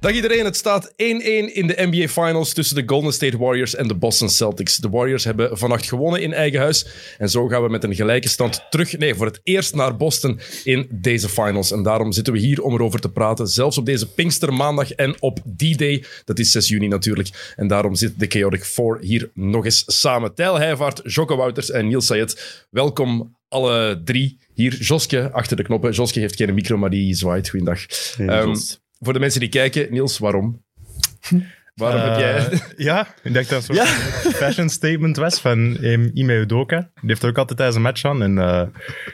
Dag iedereen, het staat 1-1 in de NBA Finals tussen de Golden State Warriors en de Boston Celtics. De Warriors hebben vannacht gewonnen in eigen huis en zo gaan we met een gelijke stand terug, nee, voor het eerst naar Boston in deze finals. En daarom zitten we hier om erover te praten, zelfs op deze Pinkstermaandag en op D-Day, dat is 6 juni natuurlijk. En daarom zit de Chaotic Four hier nog eens samen. Tijl Heijvaart, Jocke Wouters en Niels Sayed, welkom alle drie. Hier Joske achter de knoppen. Joske heeft geen micro, maar die zwaait. Goeiedag. Ehm, Jos. voor de mensen die kijken, Niels, waarom? Waarom heb jij... Eh, ja, ik denk dat het een soort fashion statement was van ehm, Ime Udoka. Die heeft er ook altijd tijdens een match aan. En eh,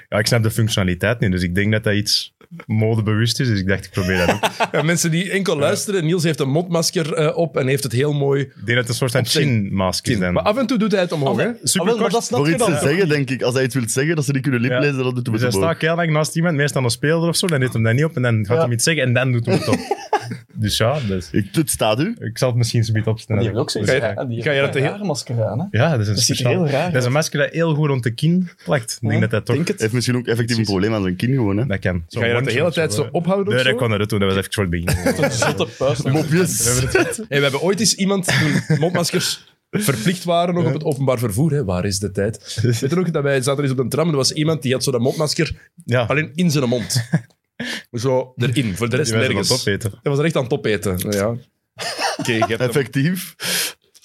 ja, ik snap de functionaliteit niet, dus ik denk dat dat iets modebewust is. Dus ik dacht, ik probeer dat ook. Ja, mensen die enkel luisteren, Niels heeft een mondmasker eh, op en heeft het heel mooi... Ik denk dat het een soort van zijn- chin-mask is. Maar ah, Dan. af en toe doet hij het omhoog, hè? Super Ah, wel, maar kort. dat snap Voor je iets dan. te zeggen, denk ik. Als hij iets wil zeggen, dat ze die kunnen liplezen, dat doet Dus hij met hij de staat boog. heel lang naast iemand, meestal een speler of zo, dan heeft hem dat niet op en dan gaat hij hem iets zeggen en dan doet hij het op. dus ja, dus. Ik, het staat u. ik zal het misschien zo'n beetje opstellen. Die hebben ook zoiets. Dus, raar- die Ga je hebben dat een rare masker aan, hè? ja, dat is een Dat ziet er speciaal- heel raar Dat is een masker dat heel goed rond de kin plakt. Ik denk dat dat toch... Denk het. Hij heeft misschien ook effectief een probleem aan zijn kin gewoon. Hè. Dat kan. Zo'n Ga je dat de wondje hele of tijd zo eh. ophouden of Nee, zo? dat kon dat doen. Dat was even voor het begin. Een zotte puist. Mopjes. Hey, we hebben ooit eens iemand toen mondmaskers verplicht waren nog op het openbaar vervoer. Hè? Waar is de tijd? Weet je nog dat wij zaten eens op een tram en er was iemand die had zo dat mondmasker Ja, alleen in zijn mond. Zo erin, voor de rest die wijzen nergens. van opeten. Hij was er echt aan het opeten. Nou Ja. Oké, je hebt hem. Effectief.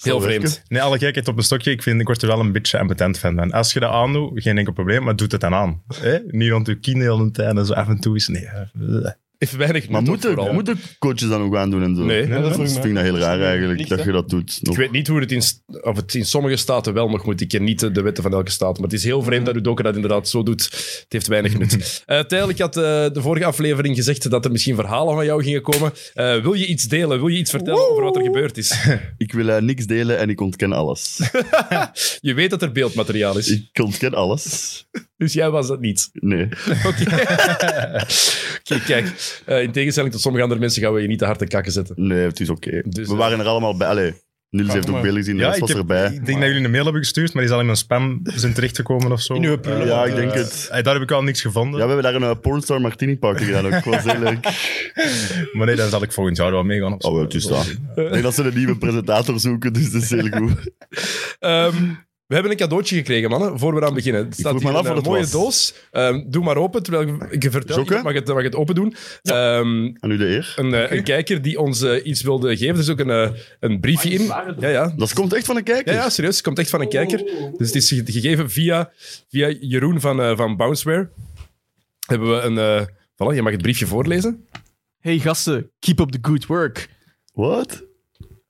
heel Zal werken. vreemd. Nee, alle gekheid op een stokje. Ik, vind, ik word er wel een beetje ambetant van. En als je dat aandoet, geen enkel probleem, maar doet het dan aan. Hè? Niet rond je kin heel de tijd en zo af en toe is... Nee, eh, Even weinig Maar nut ook moeten, vooral. moeten coaches dan ook aan doen en zo? Nee. dat dat vroeg vind ik me. ik dat heel raar eigenlijk, Plicht, dat hè? je dat doet. Ik weet niet hoe het in, st- of het in sommige staten wel nog moet. Ik ken niet de de wetten van elke staat. Maar het is heel Mhm. vreemd dat Udoka dat inderdaad zo doet. Het heeft weinig nut. Eh Tijl, ik had eh, de vorige aflevering gezegd dat er misschien verhalen van jou gingen komen. Eh, wil je iets delen? Wil je iets vertellen over wat er gebeurd is? Ik wil eh, niks delen en ik ontken alles. Je weet dat er beeldmateriaal is. ik ontken alles. Dus jij was dat niet. Nee. Oké. Oké, kijk. eh, in tegenstelling tot sommige andere mensen gaan we je niet te hard te kakken zetten. Nee, het is oké. Dus, We eh, waren er allemaal bij. Allee, Niels heeft ook beelden gezien, de ja, rest ik, was heb- erbij. ik denk dat jullie een mail hebben gestuurd, maar die zal in mijn spam zijn terechtgekomen of zo. In uw prullenbak. Eh, Ja, ik denk eh, het. eh, daar heb ik al niks Ja, gevonden. we hebben daar een eh, pornstar martini party gedaan ook. Het was heel leuk. Maar nee, dan zal ik volgend jaar wel meegaan. of zo. Oh, wel, het is dat. Ik denk dat ze een nieuwe presentator zoeken, dus dat is heel goed. Ehm, we hebben een cadeautje gekregen, mannen, voor we aan beginnen. Het staat vroeg hier me af in een wat het mooie was. doos. Ehm, doe maar open, terwijl ik- ik vertel. Jokke? Iemand Mag het, mag het open doen. Ehm, Aan u de eer. een, eh, een kijker die ons eh, iets wilde geven. Er is ook een, eh, een briefje in. Ja, ja. Dat komt echt van een Ja, kijker. ja, serieus. Het komt echt van een kijker. Dus het is ge- gegeven via, via Jeroen van, eh, van Bounceware. Hebben we een... eh voilà, je mag het briefje voorlezen. Hey gasten, keep up the good work. Wat?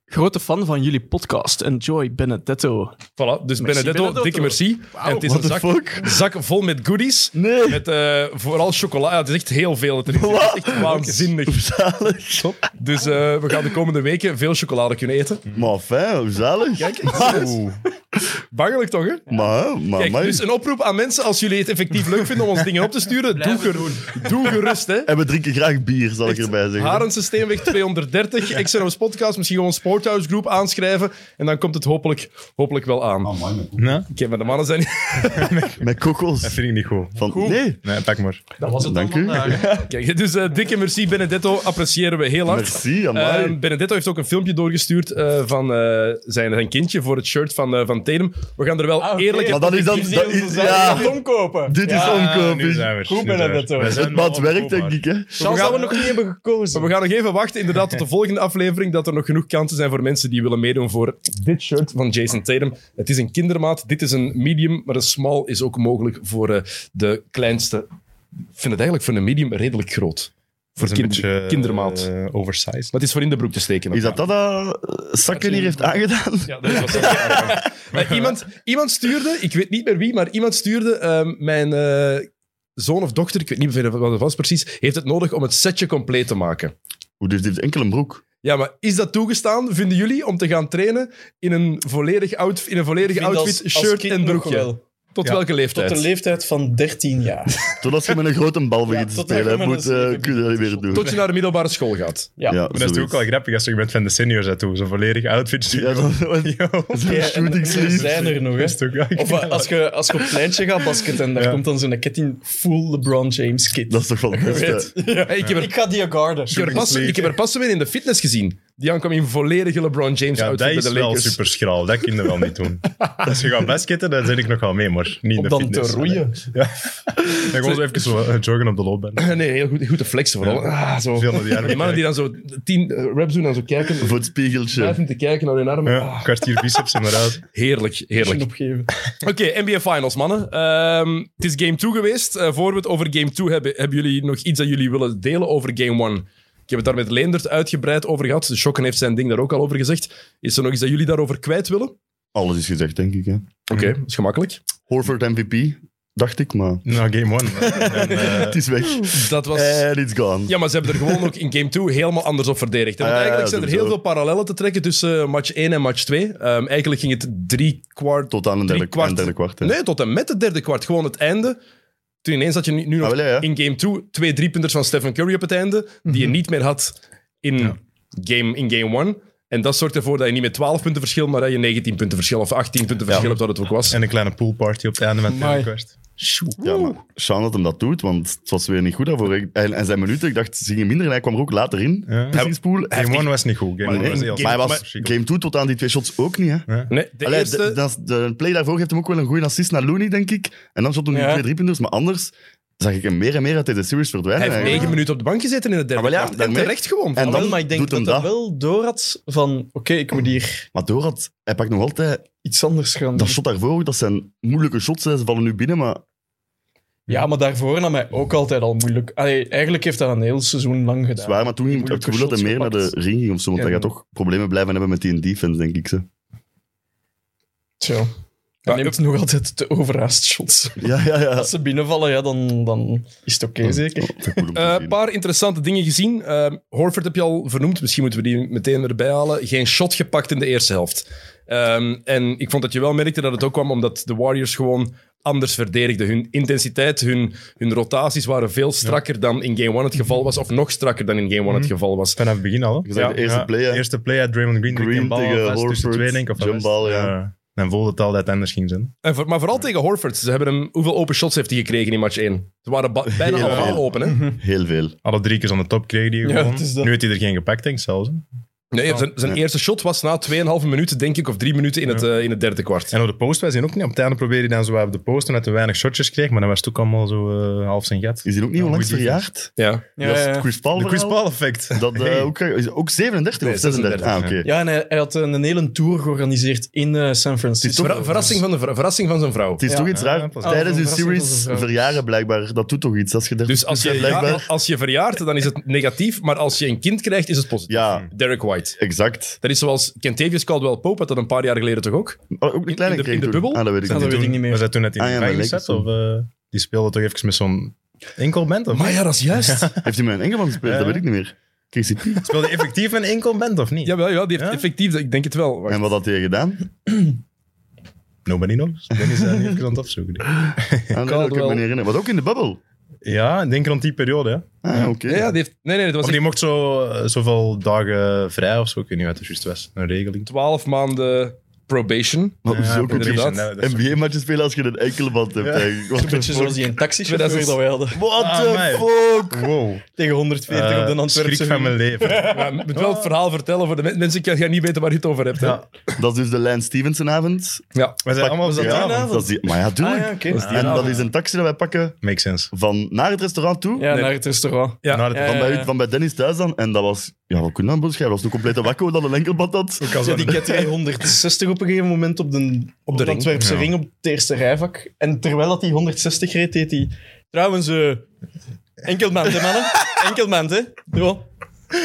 Grote fan van jullie podcast. Enjoy Benedetto. Voilà, dus Benedetto, Benedetto. dikke merci. en het is what een the zak, fuck? zak vol met goodies. Nee. Met eh, vooral chocola. Ja, Het is echt heel veel. Het is echt waanzinnig. Zalig. Dus eh, we gaan de komende weken veel chocolade kunnen eten. Maar fijn, hoe zalig. Kijk, maar, Bangelijk toch, hè? maar, maar, Kijk, maar- dus een oproep aan mensen, als jullie het effectief leuk vinden om ons dingen op te sturen, doe, Blijf het ger- doe gerust, hè. En we drinken graag bier, zal ik erbij zeggen. Harense Steenweg 230, XNO's podcast, misschien gewoon Sporthouse Group aanschrijven en dan komt het hopelijk, hopelijk wel aan. Oké, Nee, maar de mannen zijn... Met dat kokkels. vind ik niet goed. Van, nee, Nee, pak maar. Dat was het Dank dan u. vandaag. Kijk, dus eh, dikke merci Benedetto, appreciëren we heel hard. merci, amai. Ehm, Benedetto heeft ook een filmpje doorgestuurd eh, van eh, zijn, zijn kindje voor het shirt van, eh van Tatum. We gaan er wel Ah, oké. eerlijk... maar dat is dan... Die dat ons is- zo zeiden, ja, "Je gaat omkopen. dit is Ah, nu omkoping. zijn we er. Goed, Nu zijn we er. Benedetto. We zijn Het maat wel werkt, denk opkoopbaar. ik, hè. Chance gaan- dat we nog niet hebben gekozen. We gaan nog even wachten, inderdaad, tot de volgende aflevering, dat er nog genoeg kansen zijn voor mensen die willen meedoen voor dit shirt van Jason Tatum. Het is een kindermaat, dit is een medium, maar een small is ook mogelijk voor eh, de kleinste. Ik vind het eigenlijk voor een medium redelijk groot. Voor Dat is een kind- beetje, eh, kindermaat. Maar eh, oversized. het is voor in de broek te steken. Is dat dat dat eh, Sakken hier heeft aangedaan? Ja, dat was wel raar, ja. Maar Eh, iemand, iemand stuurde, ik weet niet meer wie, maar iemand stuurde ehm, mijn eh, zoon of dochter, ik weet niet meer wat het was precies, heeft het nodig om het setje compleet te maken. Hoe dus dit enkel een broek? Ja, maar is dat toegestaan, vinden jullie, om te gaan trainen in een volledig, outf- in een volledig Ik vind outfit, als- als shirt kind en nog broekje? wel. Tot Ja, welke Tot leeftijd? de leeftijd van 13 jaar. Totdat je met een grote bal begint te tot dat je spelen, hè, met moet, een- eh, kun je dat niet meer doen. Tot je naar de middelbare school gaat. Ja. Ja, Maar dat is toch ook wel zoiets. grappig als je bent van de seniors uit toe. Zo'n volledig outfitje. Ja, dat Yo. zo'n Ja, en shooting er sleeves. zijn er nog, hè. Dat is toch wel Of eh, als je, als je op het pleintje gaat basketten en daar Ja. komt dan zo'n ketting full LeBron James kit. Dat is toch wel het beste. Weet. Ja. Hey, ik, heb er, Ik ga die garden. ik, heb er pas, ik heb er pas weer in de fitness gezien. Die kwam in volledige LeBron James Ja, outfit dat bij is de wel Lakers. super schraal. Dat kun je wel niet doen. Als je gaat basketten, dan zit ik nog wel mee, maar niet in Om de dan te fitness. roeien. Ja. Dan gewoon zo even zo, eh, joggen op de loopband. Nee, heel goed, goed te flexen vooral. Ah, zo. Veel naar die armen Die mannen die dan zo tien eh, reps doen en zo kijken. Voor het spiegeltje. Blijf te kijken naar hun armen. Ja, Ah, kwartier biceps inderdaad. heerlijk, heerlijk. opgeven. Oké, NBA Finals, mannen. Ehm, het is game 2 geweest. Eh, voor we het over game 2 hebben, hebben jullie nog iets dat jullie willen delen over game 1? Ik heb het daar met Leendert uitgebreid over gehad. De Shocken heeft zijn ding daar ook al over gezegd. Is er nog iets dat jullie daarover kwijt willen? Oké, Alles is gezegd, denk ik. Hè. dat is gemakkelijk. Horford MVP, dacht ik, maar Nou, game one. En, eh, het is weg. Dat was... En it's gone. Ja, maar ze hebben er gewoon ook in game 2 helemaal anders op verdedigd. hè. Want Ah, ja, ja, eigenlijk zijn er heel sowieso. veel parallellen te trekken tussen eh, match 1 en match 2. Ehm, eigenlijk ging het drie kwart... Tot aan een Drie derde kwart. kwart. Een derde kwart hè. Nee, tot en met het derde kwart. Gewoon het einde. Toen ineens had je nu, nu nog Ah, wel, ja, Mhm. ja. in game 2 twee driepunters van Stephen Curry op het einde, die je niet meer had in game 1. In game one. en dat zorgt ervoor dat je niet met 12 punten verschil, maar dat je 19 punten verschil of 18 punten verschil hebt, dat het ook was. en een kleine poolparty op het einde van het Amai. derde kwart. Ja, maar Sean dat hem dat doet, want het was weer niet goed daarvoor. En, en zijn minuten, ik dacht, ze gingen minder en hij kwam er ook later in. Ja. Pressingspool. Hij heeft Game niet- one was niet goed. Game Maar, one nee, was heel maar hij was verschrikkelijk. game 2 tot aan die twee shots ook niet. Hè. Nee, de Allee, eerste... de, dat is- de play daarvoor geeft hem ook wel een goede assist naar Looney, denk ik. En dan shot hij Ja. die twee driepunters, maar anders zag ik hem meer en meer uit deze series verdwijnen. hij heeft eigenlijk. 9 minuten op de bank gezeten in het derde Ah, wel, ja, kwart. En daarmee- terecht gewoon. En En dan, dan maar ik denk doet dat hem hij dat. wel door had van, oké, ik moet hier Maar door had, hij pakt nog altijd iets anders gaan doen. dat shot daarvoor. Dat zijn moeilijke shots, hè. ze vallen nu binnen, maar Ja, maar daarvoor nam hij ook altijd al moeilijk. Allee, eigenlijk heeft hij dat een heel seizoen lang gedaan. zwaar. Maar toen ging het moeilijke gevoel dat hij shots meer naar de gepakt. ring ging of zo, want Ja. hij gaat toch problemen blijven hebben met die defense, denk ik. Ze. Zo. Hij Maar- neemt nog altijd de overhaast shots. Ja, ja, ja. Als ze binnenvallen, ja, dan, dan oh, is het oké, zeker. Eh, Een paar interessante dingen gezien. Ehm, Horford heb je al vernoemd. Misschien moeten we die meteen erbij halen. Geen shot gepakt in de eerste helft. Ehm, en ik vond dat je wel merkte dat het ook kwam omdat de Warriors gewoon anders verdedigden. Hun intensiteit, hun, hun rotaties waren veel strakker dan in Game 1 het geval was. Of nog strakker dan in Game 1 het geval was. Vanaf het begin al. hè? Je zei Ja, de eerste Ja, play, hè. Eerste play uit Draymond Green. die Green een bal tegen vast tussen Horford, twee, denk ik, of jump vast. ball, ja. Ja. Dan voelde het al dat het anders ging zijn. En voor- maar vooral tegen Horford. Ze hebben hem, hoeveel open shots heeft hij gekregen in match 1? Ze waren ba- bijna Heel allemaal veel. open. Hè? Heel veel. Alle drie keer aan de top kreeg die Ja, gewoon. het is dat. Nu heeft hij er geen gepakt, denk ik zelfs. hè. Nee, zijn, zijn eerste shot was na 2,5 minuten, denk ik, of 3 minuten in het, eh, in het derde kwart. En op de post was hij ook niet. Op het einde probeerde hij dan zo wat op de post, omdat hij weinig shotjes kreeg, maar dan was het ook allemaal zo eh, half zijn gat. Is hij ook niet Ja, onlangs goeie verjaagd? Ja. Ja, Dat is het ja. Chris Paul De Chris verhaal. Paul effect. Dat, eh, Hey. ook, is ook 37 Nee, of 36. Ah, oké. Ja, en hij, hij had een, een hele tour georganiseerd in eh, San Het is Francisco. toch een verrassing van, de, ver- verrassing van zijn vrouw. Het is Ja. toch iets Ja, raar. ja, pas- Tijdens Oh, een dat is een series verrassing. verjaren blijkbaar, dat doet toch iets. Als je er Dus als je, ja, blijkbaar... als je verjaart, dan is het negatief. Maar als je een kind krijgt, is het positief. Ja. Derek White. Exact. Dat is zoals Kentavious Caldwell Pope had dat een paar jaar geleden toch ook? Oh, ook de In- kleine in de- kreeg in de toen. bubbel? Ah, dat weet ik Ja, niet. dat weet ik niet meer. Was dat toen net in Ah, de ja, maar gevangenis lekker zat? Of, eh, die speelde toch even met zo'n enkelband? Of Maar ja, dat is juist. Heeft hij met een Engelman gespeeld? Dat Ja. weet ik niet meer. KCP. Speelde hij effectief met een enkelband of niet? Jawel, ja, die heeft Ja? effectief, ik denk het wel. Wacht. En wat had hij gedaan? Nobody knows. Dennis is daar nu even aan het opzoeken. Ah, nee, dat kan ik me niet herinneren. Wat ook in de bubbel. Ja, ik denk rond die periode. Hè. Ah, oké. Ja, ja, die heeft, nee, nee, dat was Of echt Oh, die mocht zo, eh, zoveel dagen vrij of zo. Ik weet niet wat het juist was. Een regeling. 12 maanden probation. Maar Ja, eh, hoezo kun je inderdaad. dat- dat is- NBA-matches spelen als je een enkele band hebt? Ja. eigenlijk? What Een the beetje fuck? zoals die een taxichauffeur is- dat wij hadden. What Ah, the mij. fuck? Wow. Tegen 140 op de Eh, Antwerpse schrik van mijn leven. Maar je moet wel het verhaal vertellen voor de men- mensen. Ik ga- ga niet weten waar je het over hebt. Hè? Ja. Dat is dus de Lance Stevenson-avond. Ja. We zijn allemaal op dat Ja, die avond. avond? dat is die- Maar ja, Ah tuurlijk. ja, oké. En dat is een taxi dat wij pakken Makes sense. van naar het restaurant toe. Ja, naar het restaurant. Ja. Naar Ja, het Van bij, van bij Dennis thuis dan. En dat was... Ja, wat kun je dan beschrijven? Dat was een complete wakko dat een enkelband had. kan Ja, zo- die ket rij 160 op een gegeven moment op de, op de ring. Antwerpse Ja. ring, op het eerste rijvak. En terwijl dat die 160 reed, deed hij... Trouwens, eh enkelmand, hè, mannen? Enkelmand, hè? Ja.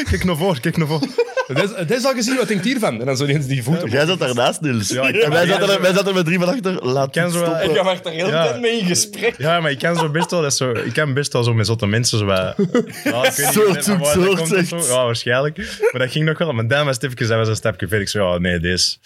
Kijk naar voor, kijk naar voor. Het is, het is al gezien, wat denkt hiervan? En dan zo ineens die voeten. Jij zat daarnaast, Niels. Ja, ik- en wij zaten, er, wij zaten er met drie van achter. Laat ken het zo wel- stoppen. Ik ga maar daar heel Ja. tijd mee in gesprek. Ja, maar ik ken zo best wel, dat is zo, ik ken best wel zo met zotte mensen. Zo bij, ja, ik weet niet Soort van zoekt waar dat soort, komt of zegt. zo. Ja, waarschijnlijk. Maar dat ging nog wel. Maar dan was het even, dat was een stapje verder. Ik zei, ja, nee, deze,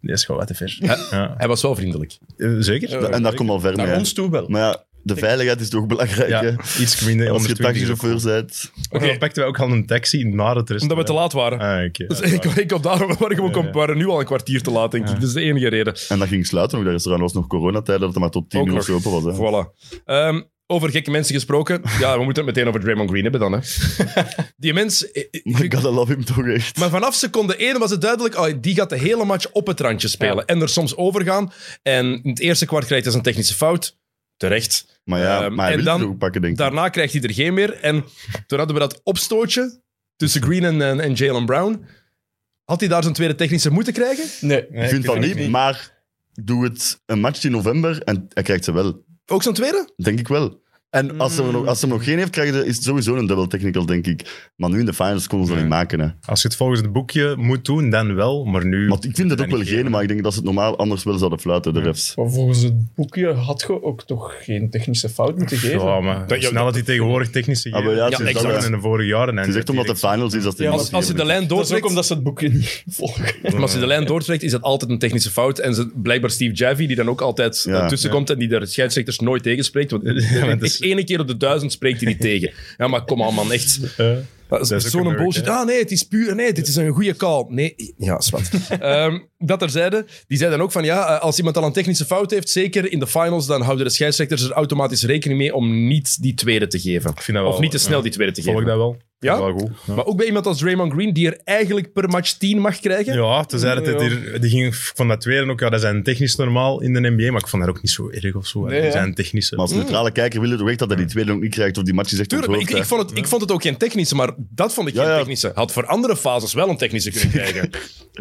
deze is gewoon wat te ver. Ja. Hij was wel vriendelijk. Eh, Zeker? En daar komt al ver mee. Naar hè. ons toe wel. Maar ja, de veiligheid is toch belangrijk, Ja, hè? iets minder. Als je 120 taxichauffeur bent. Oké, dan pakten we ook al een taxi naar het restaurant. Omdat we te laat waren. Ah, oké. Dus ik, ik kom daar waar ik ook op waren nu al een kwartier te laat, denk ik. Dus Dat is de enige reden. En dat ging sluiten, want dat restaurant was nog coronatijd, dat het maar tot tien Ook uur nog. of zo open was. Hè. Voilà. Ehm, over gekke mensen gesproken. Ja, we moeten het meteen over Draymond Green hebben dan. Hè. Die mens... eh, eh, Maar ik had love hem toch echt. Maar vanaf seconde 1 was het duidelijk, oh, die gaat de hele match op het randje spelen. En er soms overgaan. En in het eerste kwart krijgt hij zijn technische fout. Terecht. maar ja, Ehm, maar hij en wil dan- het ook pakken, denk ik. Daarna krijgt hij er geen meer. En toen hadden we dat opstootje tussen Green en, en, en Jalen Brown. Had hij daar zijn tweede technische moeten krijgen? Nee. Nee, ik vind dat het niet, maar doe het een match in november en hij krijgt ze wel. Ook zo'n tweede? Denk ik wel. En als, er nog, als ze Mm. hem nog geen heeft, krijgen ze, is het sowieso een double technical, denk ik. Maar nu in de finals konden ze dat niet maken. Hè. Als je het volgens het boekje moet doen, dan wel. Maar nu... Maar ik vind dat ook wel geen, maar ik denk dat ze het normaal anders wel zouden fluiten, de refs. Maar volgens het boekje had je ook toch geen technische fout moeten geven. Ja, maar Dat- ja, snel dat die tegenwoordig technische Ah, maar ja, gegevens het is zijn dat, dan hè. in de vorige jaren. Het is echt omdat de finals is dat ze Ja, niet Als, als je de hebben. lijn Dat is ook doortrekt... omdat ze het boekje niet volgen. Maar als je de lijn doortrekt, is dat altijd een technische fout. En ze, blijkbaar Steve Javi, die dan ook altijd Ja. eh, tussenkomt en die de scheidsrechters nooit tegenspreekt. Want het is- echt ene keer op de duizend spreekt hij niet tegen. Ja, maar kom aan, man, echt. Eh, Dat is, Dat is ook zo'n een merk, bullshit. hè? Ah, nee, het is puur. Nee, dit is een goede call. Nee, ja, zwart. Ehm dat er zeiden, die zeiden ook van ja, eh, als iemand al een technische fout heeft, zeker in de finals, dan houden de scheidsrechters er automatisch rekening mee om niet die tweede te geven. ik vind dat wel, Of niet te snel ja, die tweede te Volg geven. dat wel. Ja? Dat is wel goed. Maar ook bij iemand als Draymond Green, die er eigenlijk per match 10 mag krijgen. Ja, tenzij dat het hier, die ging van dat tweede ook, ja, dat zijn technisch normaal in de NBA, maar ik vond dat ook niet zo erg of zo. hè. Nee, die hè? zijn technische. Maar als neutrale kijker wil je toch echt dat hij die tweede ook niet krijgt of die match is echt Mm. Tuurlijk, maar ik, ik, onthoofd, hè. vond het, ik vond het ook geen technische, maar dat vond ik Ja, geen ja. technische. Had voor andere fases wel een technische kunnen krijgen.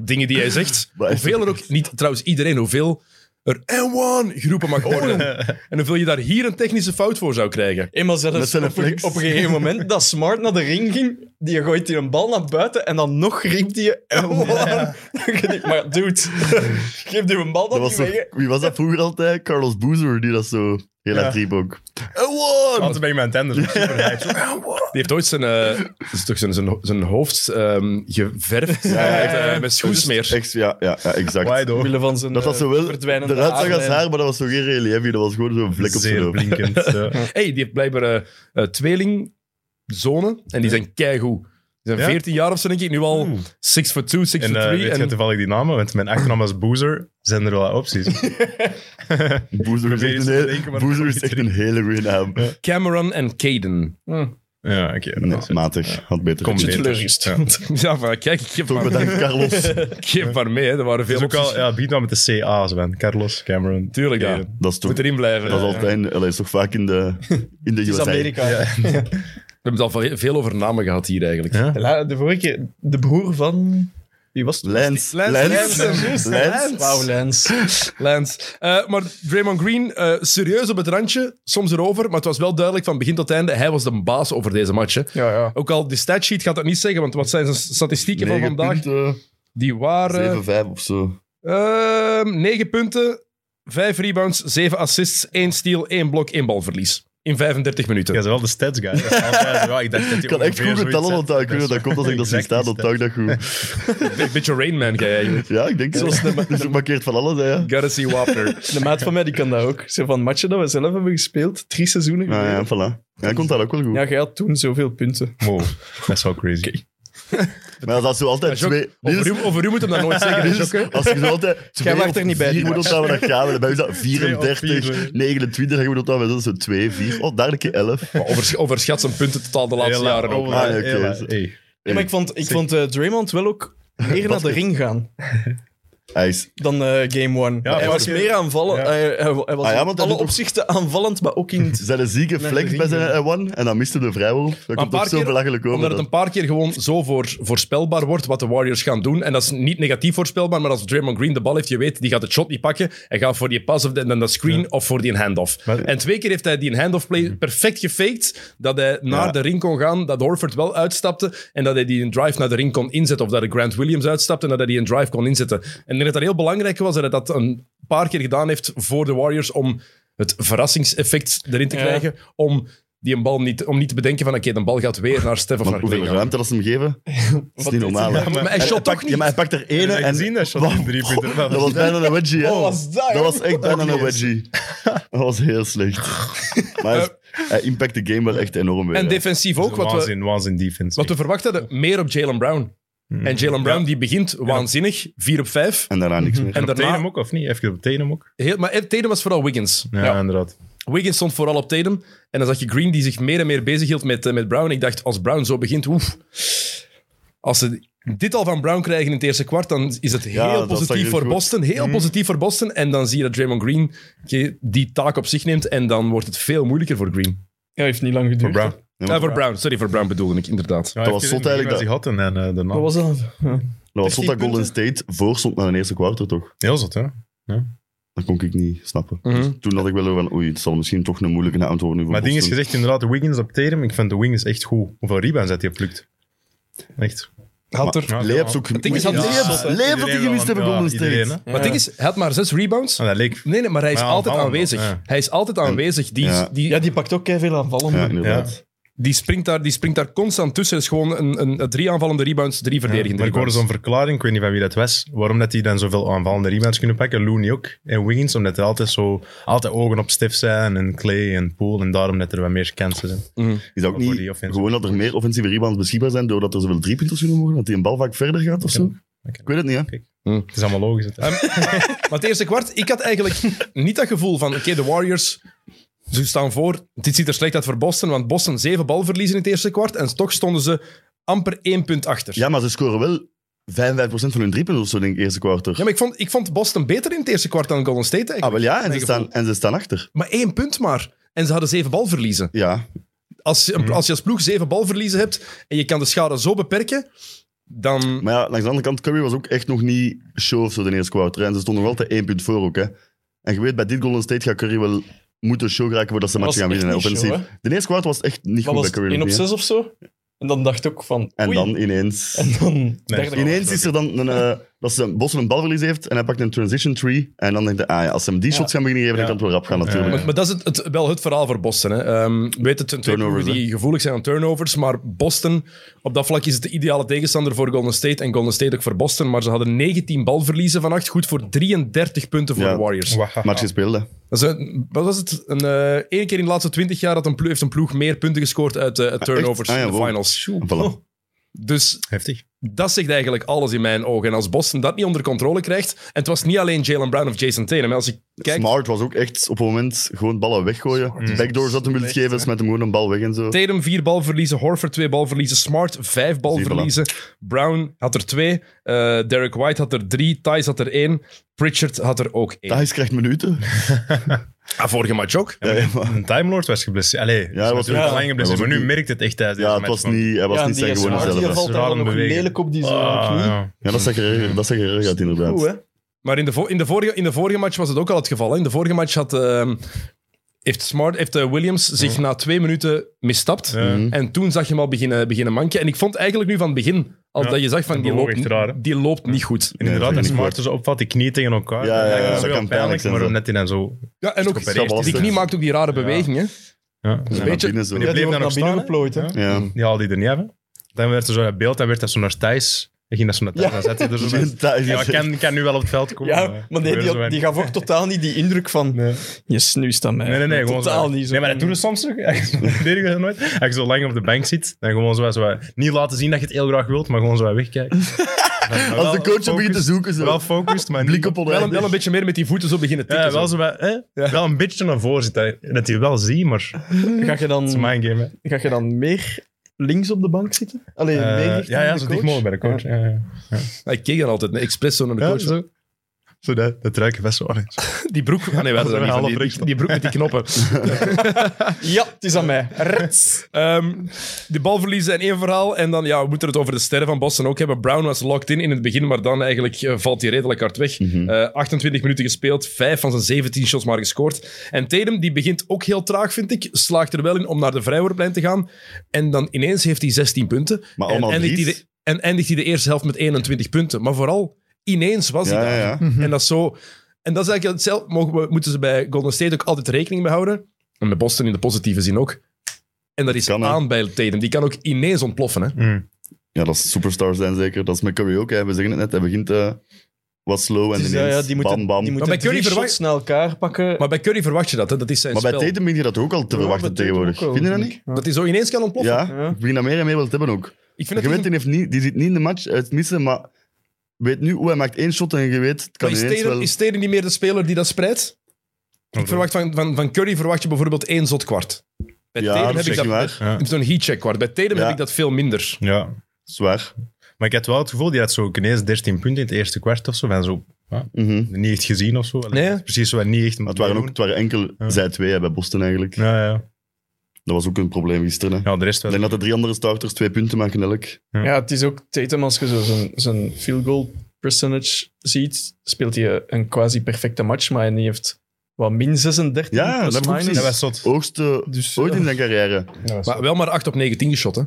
Dingen die hij zegt. Maar- Hoeveel er ook, niet trouwens iedereen, hoeveel er en one geroepen mag worden. En hoeveel je daar hier een technische fout voor zou krijgen. Eenmaal Met zelfs zijn op, een- flex. op een gegeven moment dat Smart naar de ring ging, die gooit die een bal naar buiten en dan nog riep die "Oh, man." Dan denk ik, Maar dude, geef die een bal Dat dan was niet weg. toch- wie was dat vroeger altijd? Carlos Boozer, die dat zo heel hard riep ook. Altijd bij iemand anders. Superhyped. Die heeft ooit zijn, eh, is toch zijn, zijn, zijn hoofd ehm, geverfd eh, met schoesmeer. Echt, ja, ja, ja, exact. Wide open. Omwille van zijn eh, Dat was zo wel verdwijnen. eruit zag als haar, maar dat was zo geen relief. Dat was gewoon zo'n vlek op zijn Zeer hoofd. blinkend. ja. Hey, die heeft blijkbaar eh, eh, tweelingzonen en die zijn keigoed. Die zijn Ja? 14 jaar of zo, denk ik. Nu al 6 for 2, 6 En for eh, 3. weet je toevallig die namen? Want mijn achternaam is Boozer. Zijn er wel wat opties? Boozer is Probeer eens echt te een, denken, heel- maar Boozer dat is echt een hele goede naam. Cameron en Caden. ja, oké. dat Nee, is het. matig. Had beter. Kom, gekund. nee. teleurgesteld. Ja. Het Ja, maar kijk, ik geef Toch maar, bedankt, Carlos. ik geef maar mee. Hè. Er waren is veel ook al, opties. ja, begint wel met de CA's, man. Carlos, Cameron. Tuurlijk, ja. Caden. Dat is toch... Moet erin blijven. Dat is altijd... in- allee, is toch vaak in de, in de Het is USA. Amerika. We hebben het al ve- veel over namen gehad hier eigenlijk. Ja? La- De vorige keer, de broer van... Wie was het? Lens. Lens. Lens. Lens. Lens. Wauw, Lens. Lens. Eh, maar Draymond Green, eh, serieus op het randje, soms erover, maar het was wel duidelijk van begin tot einde, hij was de baas over deze match. Hè. Ja, ja. Ook al, de statsheet gaat dat niet zeggen, want wat zijn zijn statistieken van Negen vandaag? eh, punten, Die waren 7-5 of zo. ehm 9 punten, 5 rebounds, 7 assists, 1 steal, 1 blok, 1 balverlies. In 35 minuten. Ja, dat is wel de stats guy. Dat is altijd zo. Ja, ik dacht dat Ik kan echt goed vertellen, want eh, ik weet dat dat komt als ik dat zie staan, dan dacht ik dat goed. Een beetje Rain Man, jij eigenlijk. Ja, ik denk Zoals het. Dus het markeert van alles, hè. ja. Ah, Gotta see Wapner. De maat van mij die kan dat ook. Zo van matchen dat we zelf hebben gespeeld, drie seizoenen Ah, Ja, geleden. ja, voilà. Ja, ik vond dat ook wel goed. Ja, jij had toen zoveel punten. Wow, dat is wel crazy. Maar dat is zo altijd Ja, Jok, twee... Over u, over u moet hem dat nooit zeggen. hè, Jok, hè? Als je zo altijd twee waart of er niet bij, vier die moet match. ophouden, dan gaan we. Dan bij ons dat Twee of 34, vier, 29, dan gaan we ophouden. Dat is zo 2, 4. Oh, daar een keer 11. Maar Over, overschat zijn punten totaal de laatste Hela, jaren ook. Ola, Ah, ja, oké. Hela, hey. Ja, maar ik vond, ik vond eh, Draymond wel ook meer naar de ring gaan. Hij is... dan eh, game one. hij maar was oké. meer aanvallend. Ja. Hij, hij- hij was Ah ja, in want hij alle doet ook- opzichten aanvallend, maar ook in het... Zijn een zieke flex bij zijn eh, one en dan miste de vrijwel. Dat komt paar toch zo keer- belachelijk over. Omdat het dat- een paar keer gewoon zo voor, voorspelbaar wordt wat de Warriors gaan doen. En dat is niet negatief voorspelbaar, maar als Draymond Green de bal heeft, je weet, die gaat het shot niet pakken. Hij gaat voor die pass of de- en dan dat screen of voor die handoff. Maar- en twee keer heeft hij die handoff play perfect gefaked, dat hij naar Ja. de ring kon gaan, dat Horford wel uitstapte en dat hij die een drive naar de ring kon inzetten. Of dat hij Grant Williams uitstapte en dat hij die een drive kon inzetten. En ik denk dat dat heel belangrijk was, dat hij dat een paar keer gedaan heeft voor de Warriors om het verrassingseffect erin te Ja. krijgen, om die een bal niet, om niet te bedenken van oké, de bal gaat weer naar Stef of Want naar hoeveel Clay. ruimte dat ze hem geven, dat is niet normaal. hè. Maar hij En shot pakt- toch niet. Ja, maar hij pakt er En ene en en... zien dat shot die drie punten. Dat was bijna een wedgie, hè. Wat was dat, Dat joh? was echt bijna een wedgie. Dat was heel slecht. Maar hij, hij impact de game wel echt enorm weer. En hè. defensief ook, wat we, Waanzin, waanzin defense. wat we verwacht hadden, meer op Jalen Brown. Hmm. En Jalen Brown die begint waanzinnig, 4 op 5. En daarna niks meer. En en op daarna, Tatum ook, of niet? Even op Tatum ook. heel, maar eh, Tatum was vooral Wiggins. Ja, Ja. inderdaad. Wiggins stond vooral op Tatum. En dan zag je Green die zich meer en meer bezighield met, eh, met Brown. Ik dacht, als Brown zo begint, oef. Als ze dit al van Brown krijgen in het eerste kwart, dan is het Ja, heel dat zag positief je voor goed. Boston. Heel positief voor Boston. En dan zie je dat Draymond Green oké, die taak op zich neemt. En dan wordt het veel moeilijker voor Green. Ja, heeft niet lang Voor geduurd. Brown. Ja, Eh, maar- voor Brown, sorry, voor Brown bedoelde ik, inderdaad. Ja, Dat heeft was hij zot eigenlijk in het begin wel zich had en eh, daarna. Wat was dat? Ja. Dat was zot 13 Nou, dat Golden punten. State voorstond naar de eerste kwartier, toch? Heel zot, hè? Dat kon ik niet snappen. Mhm. Dus toen had ik wel over van, oei, het zal misschien toch een moeilijke avond worden voor Maar ding is Boston. gezegd, inderdaad, Wiggins op Tatum. Ik vind de Wiggins echt goed. Hoeveel rebounds heeft hij plukt? Echt. Had Maar er... Ja, Layups ook ding is, gemist. had Layups- Layups Layups had hij gemist hebben, Golden Iedereen, hè? State. Maar het ding is, hij had maar zes rebounds. Ah, dat leek... Nee, nee, maar hij is Maar ja, altijd aanvallend aanwezig. wel, ja. Hij is altijd aanwezig. Die, Ja. die, Ja, die pakt ook veel aanvallen. Ja, inderdaad. die, springt daar, die springt daar constant tussen. Het is gewoon een, een, een drie aanvallende rebounds, drie verdedigende Maar ik hoorde rebounds. zo'n verklaring, ik weet niet van wie dat was, waarom dat die dan zoveel aanvallende rebounds kunnen pakken. Looney ook. En Wiggins, omdat er altijd zo altijd ogen op Stef zijn en Clay en Poole. En daarom dat er wat meer kansen zijn. Is dat ook Voor die niet offensive. gewoon dat er meer offensieve rebounds beschikbaar zijn doordat er zoveel driepunters kunnen worden? Dat die een bal vaak verder gaat of zo? Ik weet het niet, hè? Het is allemaal logisch. hè. Ehm, Maar het eerste kwart, ik had eigenlijk niet dat gevoel van... Oké, de Warriors, ze staan voor. Dit ziet er slecht uit voor Boston, want Boston zeven balverliezen in het eerste kwart. En toch stonden ze amper één punt achter. Ja, maar ze scoren wel 55% van hun driepunters of zo, denk ik, eerste kwartier. Ja, maar ik vond, ik vond Boston beter in het eerste kwart dan Golden State. ah, eigenlijk. wel ja, en ze, Mijn staan, en ze staan achter. Maar één punt maar. En ze hadden zeven balverliezen. Ja, als je, als je als ploeg zeven balverliezen hebt en je kan de schade zo beperken, dan... maar ja, langs de andere kant, Curry was ook echt nog niet show of zo de eerste kwartier. hè. En ze stonden nog altijd één punt voor ook, hè. En je weet, bij dit Golden State gaat Curry wel moeten show geraken voordat ze Was match gaan echt winnen, hè, niet offensief. show, de eerste kwartier was echt niet Wat goed was bij het? Curry. 1 op niet, hè. 6 of zo? En dan dacht ik ook van... En oei. dan ineens... En dan... dacht ik- Ineens is er dan een, eh, dat ze Boston een balverlies heeft en hij pakt een transition tree. En dan denkt hij, ah ja, als ze hem die shots gaan beginnen geven, dan kan het wel rap gaan natuurlijk. Maar, maar dat is het, het- wel het verhaal voor Boston. Hè. Ehm, we weten, het zijn twee Turnovers, ploegen die gevoelig zijn aan turnovers, maar Boston, op dat vlak is het de ideale tegenstander voor Golden State en Golden State ook voor Boston, maar ze hadden 19 balverliezen vannacht, goed voor 33 punten voor Ja. de Warriors. Wahaha. Match gespeeld, hè. Dat is een- wat was het? Een, eh, één keer in de laatste 20 jaar dat een ploeg, heeft een ploeg meer punten gescoord uit eh, uit turnovers Ah, ja, in de wow. finals. Voilà. Dus Heftig. Dat zegt eigenlijk alles in mijn ogen. En als Boston dat niet onder controle krijgt... En het was niet alleen Jalen Brown of Jason Tatum. hè. Als ik kijk, Smart was ook echt op het moment gewoon ballen weggooien. Backdoor zat hem willen geven, is met hem gewoon een bal weg en zo. Tatum vier balverliezen, Horford twee balverliezen, Smart vijf balverliezen, Brown had er twee, eh, Derek White had er drie, Thijs had er één, Pritchard had er ook één. Thijs krijgt minuten. Ah, vorige match ook. Ja, ja, maar- Een Time Lord was geblesseerd. Allee, ja, hij was was- natuurlijk ja. al lang geblesseerd. Hij Maar was nu ook- merkt het echt tijdens ja, deze het match, was man. niet, hij was Ja, niet die zijn is gewone smart. Die zelf. valt hè. daar Rare dan nog beweging. lelijk op die zijn Ah, knie. ja. Ja, dat zag er dat zag er uit, inderdaad. Oeh, hè? Maar in de, vo- in, de vorige, in de vorige match was het ook al het geval. Hè? In de vorige match had, ehm, heeft, Smart, heeft eh, Williams zich na twee minuten misstapt. Ja. Mhm. En toen zag je hem al beginnen, beginnen manken. En ik vond eigenlijk nu van het begin al Ja, dat je zag van dat die bewoog loopt, echt raar, hè? die loopt niet goed. En inderdaad, Nee, dat dat is Smart niet dus opvat, die knie tegen elkaar. Ja, ja, ja, dat dat is wel kan pijnlijk pijnlijk, zijn, maar zo. omdat hij dan zo... Ja, en ook Geopereerd is. die knie maakt ook die rare bewegingen. Ja, Ja, Weet je- binnen zo. Die Ja, bleef die dan wordt nog naar binnen staan, hè? geplooid, hè? Ja. Ja. Die haalde die er niet hebben. Dan werd er zo dat beeld, dan werd dat zo naar Thijs. Dan ging dat zo naar Thijs, dan zette hij er zo bij. Thijs- Ja, ik kan, ik kan nu wel op het veld komen. Ja, maar nee, die, had- die gaf ook totaal niet die indruk van... Je snuist aan mij. Nee, nee, nee. Gewoon Totaal zo, niet zo. Nee, maar dat doen ze soms nog. Verdedigen ze dat nooit. Als je zo lang op de bank zit, dan gewoon zo, zo niet laten zien dat je het heel graag wilt, maar gewoon zo wegkijken. Als de coach hem begint te zoeken, zo. Wel focused, maar Blik niet- op Wel, een- oneindig. wel een beetje meer met die voeten zo beginnen tikken. Ja, wel, zo. zo wat, hè? wel een beetje naar voren zitten. Dat hij wel ziet, maar het Ga je is dan, mijn game. Hè. ga je dan meer links op de bank zitten? Alleen meer Eh, richting ja, ja, de zo coach? dicht mogelijk bij de coach. Ja, ja. Ik keek dan altijd expres zo naar de Ja, coach. zo. Zo dat, dat ruiken best wel eens. Die broek... Ah, nee, wij hadden dat niet. Half van Die, rechts die- die broek met die knoppen. Ja, het is aan mij. Rets. Ehm, de balverliezen en één verhaal. En dan, ja, we moeten het over de sterren van Boston ook hebben. Brown was locked in in het begin, maar dan eigenlijk eh, valt hij redelijk hard weg. Mhm. Eh, 28 minuten gespeeld, 5 van zijn 17 shots maar gescoord. En Tatum, die begint ook heel traag, vind ik. Slaagt er wel in om naar de vrijwoordplein te gaan. En dan ineens heeft hij 16 punten. Maar en, allemaal eindigt hij vries. de, en eindigt hij de eerste helft met 21 punten. Maar vooral, ineens was hij Ja, daar. ja, En dat is zo... En dat is eigenlijk hetzelfde. Mogen we, moeten ze bij Golden State ook altijd rekening mee houden. En met Boston in de positieve zin ook. En dat is Kan, hè? aan bij Tatum. Die kan ook ineens ontploffen. Hè? Mm. Ja, dat is superstars zijn zeker. Dat is met Curry ook. Hè. We zeggen het net, hij begint eh, wat slow en Dus, ineens ja, ja, die moeten, bam, bam. Die Maar bij moeten Curry drie verwacht- shots naar elkaar pakken. Maar bij Curry verwacht je dat. Hè? Dat is zijn maar bij spel. Tatum begin je dat ook al te Ja, verwachten dat deed tegenwoordig. hem ook Vind wel, je dat vind niet? ik. Dat hij zo ineens kan ontploffen. Ja, Ja. ik begin dat meer en meer wel te hebben ook. Ik vind Je dat weet, die, heeft niet, die zit niet in de match, uit missen, maar weet nu hoe hij maakt één shot en je weet, het kan Maar is ineens Tatum, wel... is Tatum niet meer de speler die dat spreidt? Ik verwacht van, van, van Curry verwacht je bijvoorbeeld één zot kwart. Bij Ja, Tatum dat heb ik is dat... waar. bij- Ja. Zo'n heatcheck kwart. Bij Tatum Ja. heb ik dat veel minder. Ja, Zwaar. maar ik had wel het gevoel, die had zo ook ineens 13 punten in het eerste kwart of zo. En zo ja, Mhm. niet echt gezien of zo. Allee, Nee. Precies, zo, niet echt. Maar het waren, ook, het waren enkel Ja. zij twee hè, bij Boston eigenlijk. Ja, ja. Dat was ook een probleem gisteren. Hè. ja, de rest Ik wel. denk dat de drie andere starters twee punten maken elk. Ja, het is ook Tatum, als je zo zijn, zijn field goal percentage ziet, speelt hij een quasi perfecte match, maar hij heeft wat min 36. Ja, dat plus heb ik ook minus. Dat gezien. was zot. Hoogste Dus, ooit ja. in zijn carrière. Maar wel maar 8 op 19 geschot. Hè?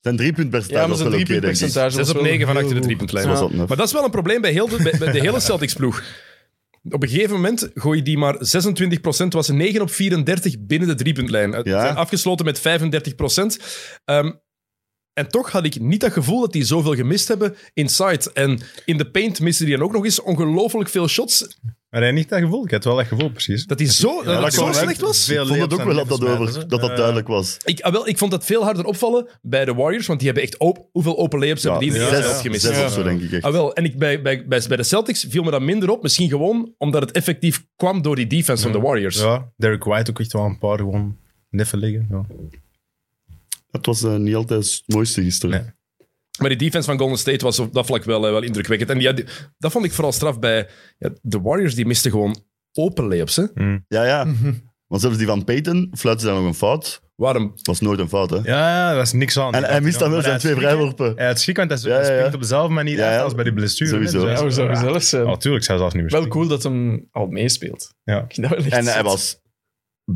Zijn drie punt per Ja, maar zijn wel oké, denk ik. driepuntpercentage 6 was op wel 9 van heel achter de goed. driepuntlijn. Zoals Ja. dat net. Maar dat is wel een probleem bij heel de, bij, bij de hele Celtics-ploeg. Op een gegeven moment gooide die maar 26%, was 9 op 34 binnen de driepuntlijn. Het Ja. zijn afgesloten met 35%. Ehm, en toch had ik niet dat gevoel dat die zoveel gemist hebben inside. En in de paint miste die dan ook nog eens ongelooflijk veel shots. Maar hij niet dat gevoel. Ik had wel dat gevoel, precies. Dat die zo, dat het dat zo kwam slecht echt was. veel Ik vond het ook wel dat dat, over, dat, dat duidelijk was. Ik, ah, wel, ik vond dat veel harder opvallen bij de Warriors, want die hebben echt op, hoeveel open layups Ja, hebben die in de zes, helft gemist. zes of zo, denk ik echt. Ah, wel, en ik, bij, bij, bij, bij de Celtics viel me dat minder op. Misschien gewoon omdat het effectief kwam door die defense van de Warriors. Ja, Derek White ook echt wel een paar gewoon neffen liggen. Ja. Het was eh, niet altijd het mooiste gisteren. Nee. Maar die defense van Golden State was op dat vlak wel, eh, wel indrukwekkend. En ja, die- dat vond ik vooral straf bij ja, de Warriors. Die misten gewoon open layups. Hè. Ja, ja. Want zelfs die van Peyton fluiten ze dan nog een fout. Waarom? Dat was nooit een fout, hè. Ja, ja, dat is niks aan. en hij mist dan wel Maar hij zijn twee had schrik, hè. vrijworpen. Hij had schrik, want hij, Ja, hij ja, ja. springt op dezelfde manier Ja, af ja. als bij die blessure. Sowieso. hè. Dus hij Ja, is- zou gezellig zijn. Ja, tuurlijk zou hij zelfs niet meer eh, Wel springen. cool dat hem al meespeelt. Ja. Ik vind dat wel echt En hij zot. was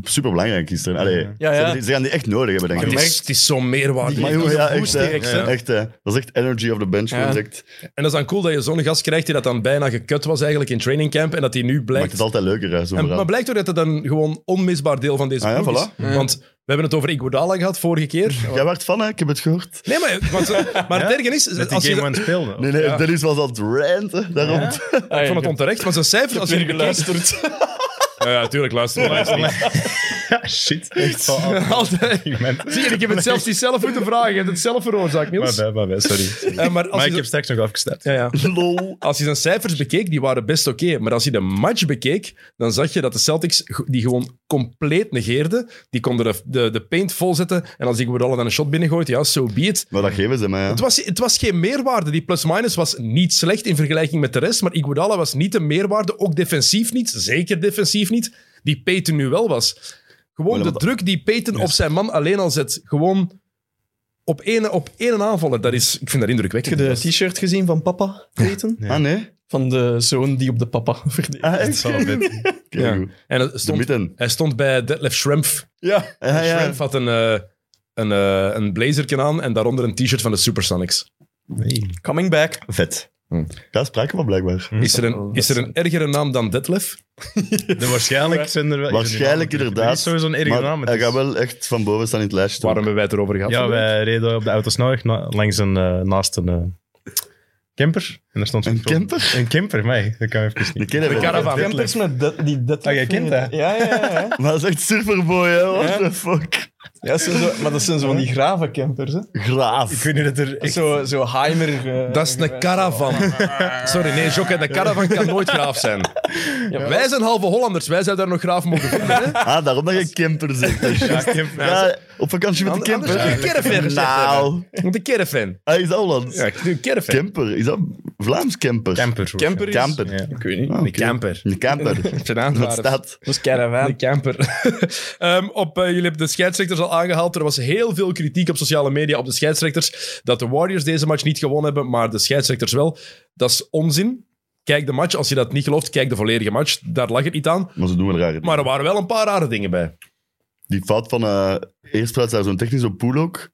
superbelangrijk gisteren. Allee, Ja, ja. Ze, hebben die- ze gaan die echt nodig hebben, denk Ah, Het ik. is, het is zo'n meerwaarde. Maar Die jongen, ja, echt, boost hè. direct, hè. echt, hè. Dat is echt energy of the bench. Ja. direct. En dat is dan cool dat je zo'n gast krijgt die dat dan bijna gekut was eigenlijk in training camp. En dat hij nu Maakt blijkt het altijd leuker, hè, zo'n En, verhaal. maar blijkt ook dat het een gewoon onmisbaar deel van deze Ah ja, ploeg voilà. is. Want we hebben het over Iguodala gehad vorige keer. Jij werd van, hè? Ik heb het gehoord. Nee, maar, want, eh, maar het Ja? erge is... Met die als je, game dat- one speelde. Nee, nee, Dennis was aan het ranten daarom. Ah, ik ja, vond het onterecht, maar zijn cijfers... Als je weer die bekijkt- geluisterd. Ja, ja, tuurlijk, luister. luister niet. Shit, echt zo Altijd. argument. Zie je, ik heb het zelfs niet zelf moeten vragen. Je hebt het zelf veroorzaakt, Maar Niels. bij, maar bij, sorry. Eh, maar als maar je ik zo- heb straks nog afgestapt. ja, ja. Lol. Als je zijn cijfers bekeek, die waren best oké. Maar als je de match bekeek, dan zag je dat de Celtics go- die gewoon compleet negeerden. Die konden de, de, de paint volzetten. En als Iguodala dan een shot binnengooit, ja, so be it. Maar dat geven ze mij, Het was, het was geen meerwaarde. Die plus-minus was niet slecht in vergelijking met de rest. Maar Iguodala was niet de meerwaarde. Ook defensief niet. Zeker defensief niet. Die Peyton nu wel was. Gewoon Wel, de wat- druk die Peyton op zijn man alleen al zet. Gewoon op één op één aanvaller. Dat is, ik vind dat indrukwekkend. Heb je de t-shirt gezien van papa, Peyton? Ah, nee? Van de zoon die op de papa verdeelt. Ah, Dat echt? zal wel Oké, beter. Ja. goed. En het De stond, midden. hij stond bij Detlef Schrempf. Ja. Ja, ja. Schrempf had een, eh, een, eh, een blazerken aan en daaronder een t-shirt van de Supersonics. Nee. Coming back. Vet. Hm. Daar spraken we blijkbaar. Is er een, is er een Oh, ergere naam dan Detlef? De waarschijnlijk zijn er wel... Waarschijnlijk is er inderdaad. Er is sowieso een erge Maar naam. het hij is- gaat wel echt van boven staan in het lijstje. toch? Waarom hebben wij het erover gehad? Ja, vandaag? wij reden op de autosnelweg na- langs een, eh, naast een eh, camper. En daar stond Een zo'n- camper? Een camper, mij. Dat kan ik even De niet. kinderen. De caravan. Campers met de- die dat. Ah, jij kent dat? Ja, ja, ja. ja. Maar dat is echt superboy, hè. What Ja. the fuck? Ja, dat zijn zo, maar dat zijn zo van die graven campers, hè? Ik Graaf. weet niet dat er echt... Zo, zo heimer... eh, Dat is een caravan. Sorry, nee, Jokke, de caravan kan nooit graaf zijn. wij zijn halve Hollanders, wij zijn daar nog graaf mogen vinden. Hè? Ah, daarom dat je camper zegt. Dat is Ja, juist. camper. Ja, op vakantie met de Anders camper. zou je een caravan gezegd Nou, Met een caravan. hij is Holland. Ja, ik doe een caravan. Camper, is dat Vlaams campers. Camper. zo. Camper is- Camper. Ja. Ik weet niet. Ah, oké. Een camper. Een camper. Zijn Wat aanvaarder. staat? Dat is dus caravan. Een camper. Ehm, op, eh, jullie hebben de scheidsrechters al aangehaald. Er was heel veel kritiek op sociale media op de scheidsrechters. Dat de Warriors deze match niet gewonnen hebben, maar de scheidsrechters wel. Dat is onzin. Kijk de match. Als je dat niet gelooft, kijk de volledige match. Daar lag het niet aan. Maar ze doen wel rare dingen. Maar er waren wel een paar rare dingen bij. Die fout van... eh eerst plaatst daar zo'n technische pool ook.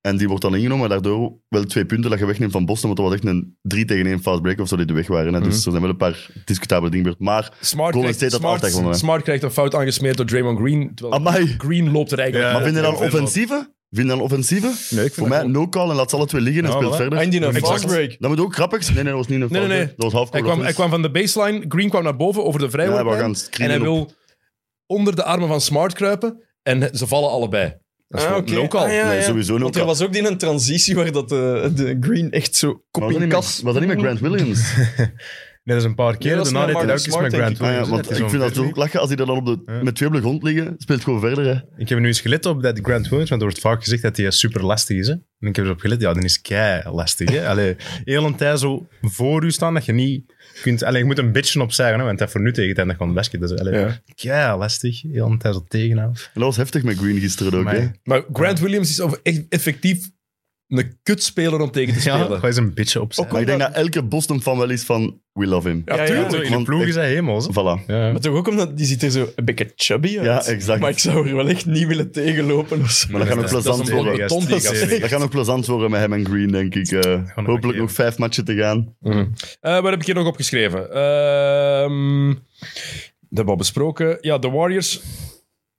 En die wordt dan ingenomen. maar Daardoor wel twee punten dat je wegneemt van Boston. Want dat was echt een 3 tegen 1 fast break of zo die de weg waren. Hè. Dus er zijn wel een paar discutabele dingen gebeurd. Maar... Smart Golden krijgt, State had Smart, altijd gewonnen, hè. Smart krijgt een fout aangesmeerd door Draymond Green. Terwijl Amai. Green loopt er eigenlijk Ja. maar vind je dan heel veel offensieve? Vind je dan offensieve? Nee, ik Voor mij no call en laat ze alle twee liggen en Ja, speelt voilà. verder. En die een Exact. fast break. Dat moet ook grappig zijn. Nee, nee, dat was niet een Nee, fout. nee, hè. nee. Dat was half Hij kwam, hij kwam van de baseline, Green kwam naar boven over de Ja, we vrijwoordlijn. gaan en screenen hij op. wil onder de armen van Smart kruipen en ze vallen allebei. Dat is Ah, gewoon oké. no call. Ah, ja, Nee, ja. sowieso no Want er call. was ook die een transitie waar dat de, de Green echt zo was kop dat in niet met- kas... was dat niet met Grant Williams? Nee, dat is een paar keer. Nee, dat is Daarna met deed hij ook Marcus eens met Smart, Grant Ah, ja, Williams. want Dat is ik zo'n vind dat zo versie. ook lachen als hij dan op de, Ja. met twee op de grond liggen, speelt gewoon verder. Hè. Ik heb er nu eens gelet op dat Grant Williams, want er wordt vaak gezegd dat hij super lastig is. Hè? En ik heb erop gelet, ja, dan is kei lastig. Hè? Allee, heel een tijd zo voor u staan dat je niet kunt. Allee, je moet een beetje opzeggen, hè, want dat voor nu tegen het einde kan basket. Dus, allee, Ja. kei lastig. Heel een tijd zo tegenaan. En dat was heftig met Green gisteren ook. Maar- Hè. Maar Grant Williams is over- echt effectief een kutspeler om tegen te Ja, spelen. gewoon eens een beetje opzeggen. Maar ik denk dat elke Boston-fan wel is van, we love him. Ja, Ja, ja. tuurlijk. in de want ploeg ik- is hij hemels. hè. Voilà. Ja. Maar toch ook omdat die ziet er zo een beetje chubby uit. Ja, exact. Maar ik zou er wel echt niet willen tegenlopen. of zo. Maar dat gaat ook Dat is een plezant blok worden. beton antwoord. die Dat is gaat- echt- Dat gaat nog plezant worden met hem en Green, denk ik. eh. nog hopelijk een nog vijf matchen te gaan. Eh, wat heb ik hier nog opgeschreven? Ehm, dat hebben we al besproken. Ja, de Warriors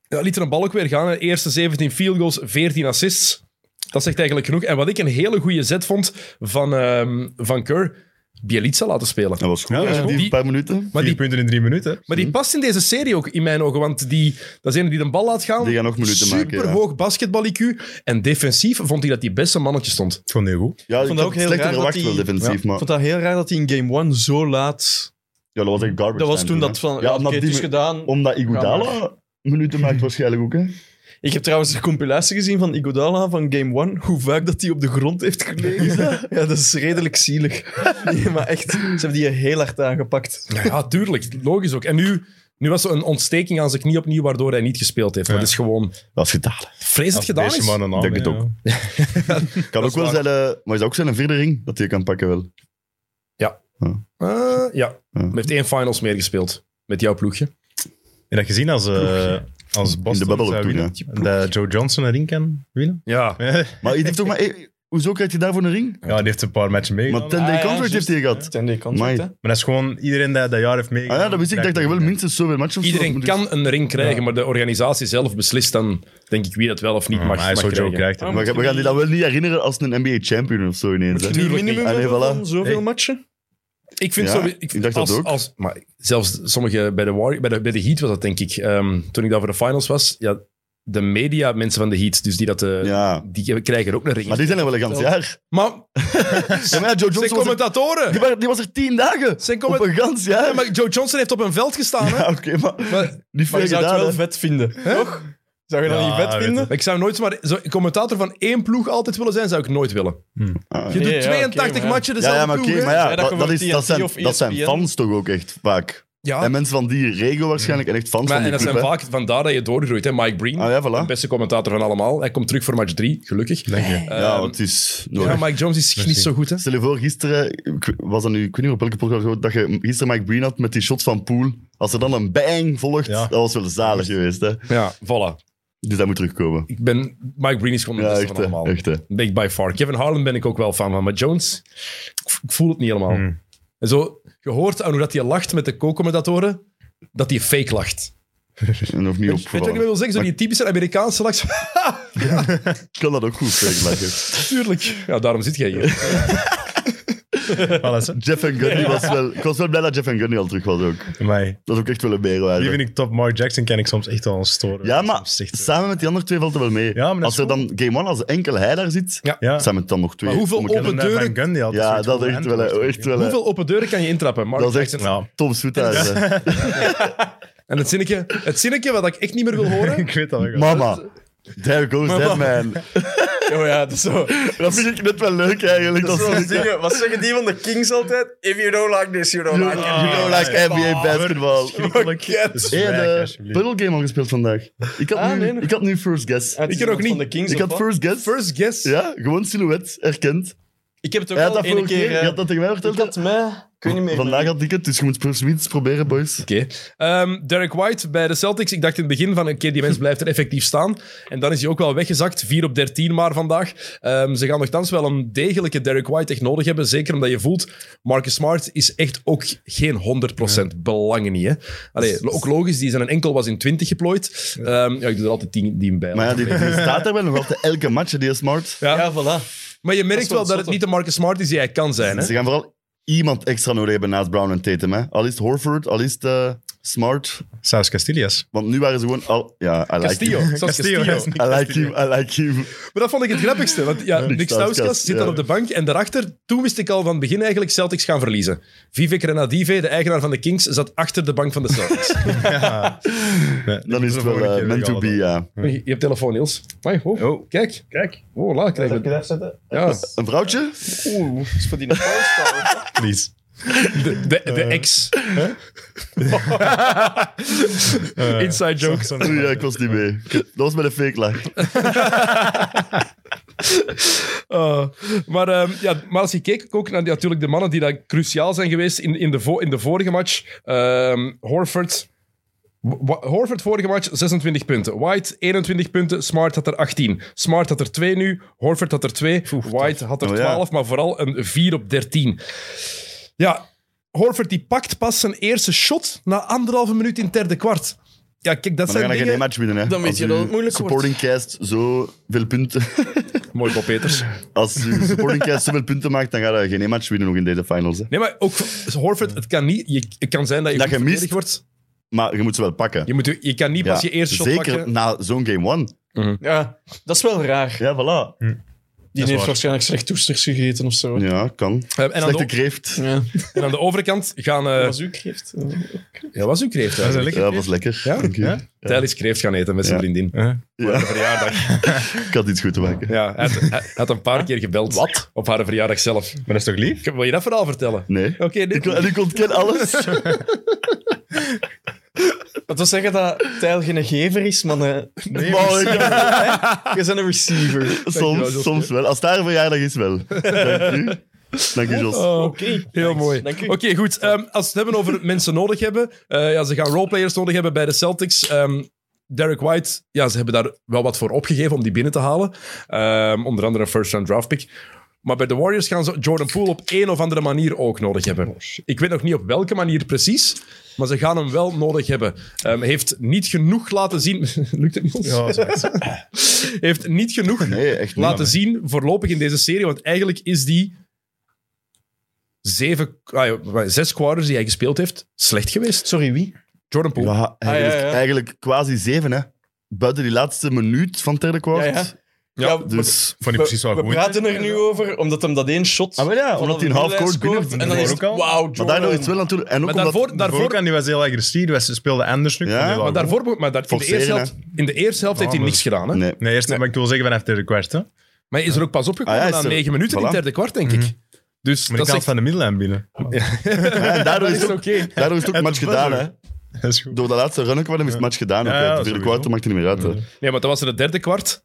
ja, lieten een bal ook weer gaan. hè. Eerste 17 field goals, 14 assists. Dat zegt eigenlijk genoeg. En wat ik een hele goede zet vond van, ehm, van Kerr, Bielitsa laten spelen. Dat was goed, Ja, dat is hè, goed. die, Die- paar minuten. Maar Vier die, punten in drie minuten. maar die past in deze serie ook, in mijn ogen. Want die, dat is een die de bal laat gaan. Die gaan nog minuten maken, ja. Super hoog basketbal IQ. En defensief vond hij dat hij best een mannetje stond. Het vond heel goed. Ja, ik vond vond dat het ook ook heel raar dat verwacht die- wel defensief, Ik maar... vond dat heel raar dat hij in game 1 zo laat... Ja, dat was echt garbage Dat was time toen dat hè. van... Ja, Ja, omdat oké, het die is me- gedaan. Omdat Iguodala minuten maakt waarschijnlijk ook, hè. Ik heb trouwens de compilatie gezien van Igodala van Game 1. Hoe vaak dat hij op de grond heeft gelegen. ja, dat is redelijk zielig. Nee, maar echt, ze hebben die heel hard aangepakt. Ja, Nou ja, tuurlijk. Logisch ook. En nu, nu was er een ontsteking aan zijn knie opnieuw, waardoor hij niet gespeeld heeft. Ja. Dat is gewoon... Dat is gedaan. Vrees dat Als het gedaan deze is. man een naam, Denk het ja. ook. Kan ook wel zijn... eh, Maar is dat ook zijn vierde ring? Dat hij kan pakken wel. Eh, ja. Ja. Hij heeft één finals meer gespeeld. Met jouw ploegje. Heb je dat gezien als, eh, als Boston bubble zou ook toen, winnen? Dat Joe Johnson een ring kan winnen? Ja. Ja, Maar die heeft toch maar... eh, Hoezo krijgt hij daarvoor een ring? die heeft een paar matchen meegedaan. Maar 10 Ah, day ja, contract heeft hij gehad. Stanley Amai. contract, hè? Maar dat is gewoon iedereen dat dat jaar heeft Ah meegedaan. ja, dat wist ik. Ik dacht dat je wel Ja. minstens zoveel matchen of zo Iedereen moet- kan een ring krijgen, maar de organisatie zelf beslist dan, denk ik, wie dat wel of niet Ja, mag, maar hij mag zo Joe krijgen. krijgt. hè. We gaan, we gaan die dan wel niet herinneren als een NBA champion of zo ineens. hè. Die Tuurlijk minimum niet. Ah, nee, hebben voilà. van zoveel Nee. matchen. Ik vind Ja, zo... ik dacht dat als- ook. Als, maar zelfs sommige... Bij de, Warrior- bij de, bij de Heat was dat, denk ik. Ehm, toen ik daar voor de finals was, ja, de media, mensen van de Heat, dus die dat... eh, Ja. Die krijgen ook een ring. Maar die zijn er wel een gans jaar. Maar Ja, maar zijn ja, Joe Johnson was er, die, commentatoren. waren- die was er tien dagen. Zijn Op commenta- een gans jaar. Ja, maar Joe Johnson heeft op een veld gestaan. Hè? Ja, oké, maar Maar, niet Maar veel je zou het gedaan. wel hè. vet vinden, toch? Zou je dat Ja, niet vet weet vinden? het. ik zou nooit maar zo, commentator van één ploeg altijd willen zijn, zou ik nooit willen. Ah, Je ja. Nee, ja, doet oké, 82 maar ja. matchen Ja, dezelfde ja, maar oké, ploeg. hè. maar Ja, ja, dat dat, dat komt is, via dat, TNT zijn, of dat E zijn ESPN. fans toch ook echt vaak. Ja. En mensen van die regio waarschijnlijk en echt fans Maar, van en die dat zijn club. vaak vandaar dat je doorgroeit. Hè? Mike Breen, hè. Ah ja, de voilà. beste commentator van allemaal. Hij komt terug voor match 3, gelukkig. Dank je. Ehm, Ja, want het is nodig. ja, Mike Jones is niet Merci. zo goed. Hè? Stel je voor, gisteren, ik- was dat nu, ik weet niet op welke podcast, ik hoorde, dat je gisteren Mike Breen had met die shots van Poel. Als er dan een bang volgt, Ja. dat was wel zalig geweest. Hè? Ja, voilà. Dus dat moet terugkomen. Ik ben, Mike Breen is gewoon de Ja, beste echt, van hè, allemaal. echt. hè. Ben ik by far. Kevin Harlan ben ik ook wel fan van, maar Jones, ik v- ik voel het niet helemaal. Hmm. En zo, je hoort aan hoe dat hij lacht met de co-commentatoren, dat hij fake lacht. En nog niet Weet je wat ik opgevallen. wil zeggen? Zo die typische Amerikaanse lach. Ik kan dat ook goed vergelijken. Tuurlijk. Ja, daarom zit jij hier. Alles, hè. Jeff en Gunny was wel... Ik was wel blij dat Jeff en Gunny al terug was ook. Amai. Dat is ook echt wel een meerwaarde. Die vind ik top. Mark Jackson ken ik soms echt wel een storen. Ja, maar Soms echt- samen met die andere twee valt het wel mee. Ja, maar dat als is er dan Game One, als enkel hij daar zit, Ja. Ja. zijn het dan nog twee. Maar hoeveel Om elkaar- open- En, eh, deuren- Van Gundy had Ja, zoiets dat van is echt wel... Antwoord, hè, denk Echt ik. wel hè. Hoeveel open deuren kan je intrappen? Mark Dat is echt- Jackson. Ja. Tom Soethuis. hè. En het zinnetje, het zinnetje wat ik echt niet meer wil horen. Ik weet dat wel. Mama. There goes that man. Oh ja, dat is zo. Dat vind ik net wel leuk eigenlijk. Dat is- wat zeggen die van de Kings altijd? If you don't like this, you don't You know, like NBA basketball. Schrikkelijk. Hey, Zwijg, de alsjeblieft. puddle game al gespeeld vandaag. Ik had, Ah, nu, nee, nog- ik had nu first guess. Ik er ook niet. Van de Kings, Ik of had wat? first guess. First guess. Ja, gewoon silhouet, erkend. ik heb het ook Hij had al dat één vorige keer... keer. Je eh, had dat tegen mij ik verteld. had mij... Ik weet niet meer. Vandaag had ik het, dus je moet pers- zoiets proberen, boys. Oké. Ehm, Derek White bij de Celtics. Ik dacht in het begin van, oké, die mens blijft er effectief staan. En dan is hij ook wel weggezakt. 4 op 13 maar vandaag. Ehm, ze gaan nogthans wel een degelijke Derek White echt nodig hebben. Zeker omdat je voelt, Marcus Smart is echt ook geen 100% belangen niet. Hè? Allee, ook logisch, die zijn een enkel was in 20 geplooid. Ehm, ja, ik doe er altijd 10 die bij. Maar ja, die, die staat daar wel nog altijd elke match, hè, die is smart. Ja. Ja, voilà. Maar je merkt Dat is wel wel dat het zotte. niet de Marcus Smart is die hij kan zijn. Hè? Ze gaan vooral iemand extra nodig hebben naast Brown en Tatum. Hè. Al is het Horford, al is het eh, Smart. Saus Castillas. Want nu waren ze gewoon al... Ja, I like Castillo. him. Zoals Castillo. I like him, I like him. Maar dat vond ik het grappigste. Want ja, Nick Nick Stauskas, Stauskas zit dan ja. op de bank. En daarachter, toen wist ik al van het begin eigenlijk Celtics gaan verliezen. Vivek Renadive, de eigenaar van de Kings, zat achter de bank van de Celtics. Ja. Nee, dit Dan is de het wel vorige eh, keer meant to al be, dat. ja. je hebt telefoon, Niels. Amai, oh, Oh. Kijk, kijk. Oh, laat krijgen we- zetten? Ja, Een vrouwtje? Oeh, is voor die een pauze. Please. de, de, de ex. Inside joke. Oei, ja, ik was niet mee. eh, Dat was met een fake lach. Oh. maar, ehm, ja, maar als je keek ook naar die- natuurlijk de mannen die dan cruciaal zijn geweest in, in, de, vo- in de vorige match. Ehm, Horford. Wa- Wa- Horford vorige match 26 punten. White 21 punten. Smart had er 18. Smart had er 2 nu. Horford had er 2. White had er Oh, ja. 12. Maar vooral een 4 op 13. Ja, Horford die pakt pas zijn eerste shot na anderhalve minuut in het derde kwart. Ja, kijk, dat Maar dan zijn ga je geen dingen... match winnen, hè. Dan weet Als je dat uw het moeilijk wordt. supporting cast zo veel punten... Mooi, Bob Peters. Als je supporting cast zoveel punten maakt, dan ga je geen match winnen nog in deze finals. Hè. Nee, maar ook Horford, het kan niet... Je, het kan zijn dat je, Dat goed je mist. verdedigd wordt. Maar je moet ze wel pakken. Je, moet, je- je kan niet pas Ja, je eerste shot Zeker pakken. na zo'n game one. Ja, dat is wel raar. Ja, voilà. Die is heeft waar. waarschijnlijk slecht toesters gegeten of zo. Ja, kan. Eh, en, aan de, Slechte o- kreeft. Ja. en aan de overkant gaan... eh Wat zoek heeft. ja, was uw kreeft Dat is een eigenlijk? Ja, lekker dat keer. was lekker. Ja? Dank u. Ja? Thijs kreeft gaan eten met zijn Ja. vriendin. Huh? Ja. Ik had iets goed te maken. Ja, hij had, hij- hij had een paar keer gebeld. Wat? Op haar verjaardag zelf. Maar dat is toch lief? Ik- Wil je dat verhaal vertellen? Nee. Oké, dit- Ik, en ik ontken alles. Dat wil zeggen dat Tijl geen gever is, maar eh, Nee, Maar ik- je bent een receiver. Dankjewel, Jos. soms, soms wel. Als het haar verjaardag is wel. Dank u. Dank u, Jos. Oh, Oké. Heel mooi. Dank u. Oké, goed. ehm, als we het hebben over mensen nodig hebben. eh, ja, ze gaan roleplayers nodig hebben bij de Celtics. Ehm, Derek White, ja, ze hebben daar wel wat voor opgegeven om die binnen te halen. Ehm, onder andere een first-round draft pick. Maar bij de Warriors gaan ze Jordan Poole op een of andere manier ook nodig Oh, hebben. Ik weet nog niet op welke manier precies, maar ze gaan hem wel nodig hebben. Ehm, heeft niet genoeg laten zien... Lukt het niet? ons? Ja, zo is het. Heeft niet genoeg Nee, echt niet. laten zien voorlopig in deze serie. Want eigenlijk is die zeven, ah, ja, zes quarters die hij gespeeld heeft slecht geweest. Sorry, wie? Jordan Poole. Ja, eigenlijk, Ah, ja, ja. eigenlijk quasi zeven, hè. Buiten die laatste minuut van het derde kwart. Ja, ja. Ja, we- Dus... Vond ik precies wel we goed. praten er nu over, omdat hem dat één shot... Ah, wel ja, van omdat de hij een halfcourt middenlijn scoort, binnen- En dan is het, daarvoor ook al. wauw, Maar Jordan. daardoor is het wel natuurlijk... En ook maar omdat... daarvoor, Daarvoor daarvoor, kan die was heel agressief. Die was- Ze speelde Anders nu. Ja, maar daarvoor moet- maar daar, in, de Forceren, eerste helft, in de eerste helft Ja, heeft hij maar- niks gedaan. Hè? Nee. Nee, eerst, maar ik wil zeggen, vanaf de kwart. Hè? Maar Maar hij is er ook pas opgekomen Ah, ja, hij is na er- negen minuten in Voilà. Mhm. het derde kwart, denk ik. Dus de dat is kant echt- van de middellijn binnen. Ja, en daardoor is het ook, oké. daardoor is het ook En match verder. gedaan, hè. Dat is goed. Door dat laatste run ook wel, is het match gedaan. ook, Ja, hè. ja, Het vierde sowieso. kwart maakt het niet meer uit, hè. Nee, want dat was in het derde kwart.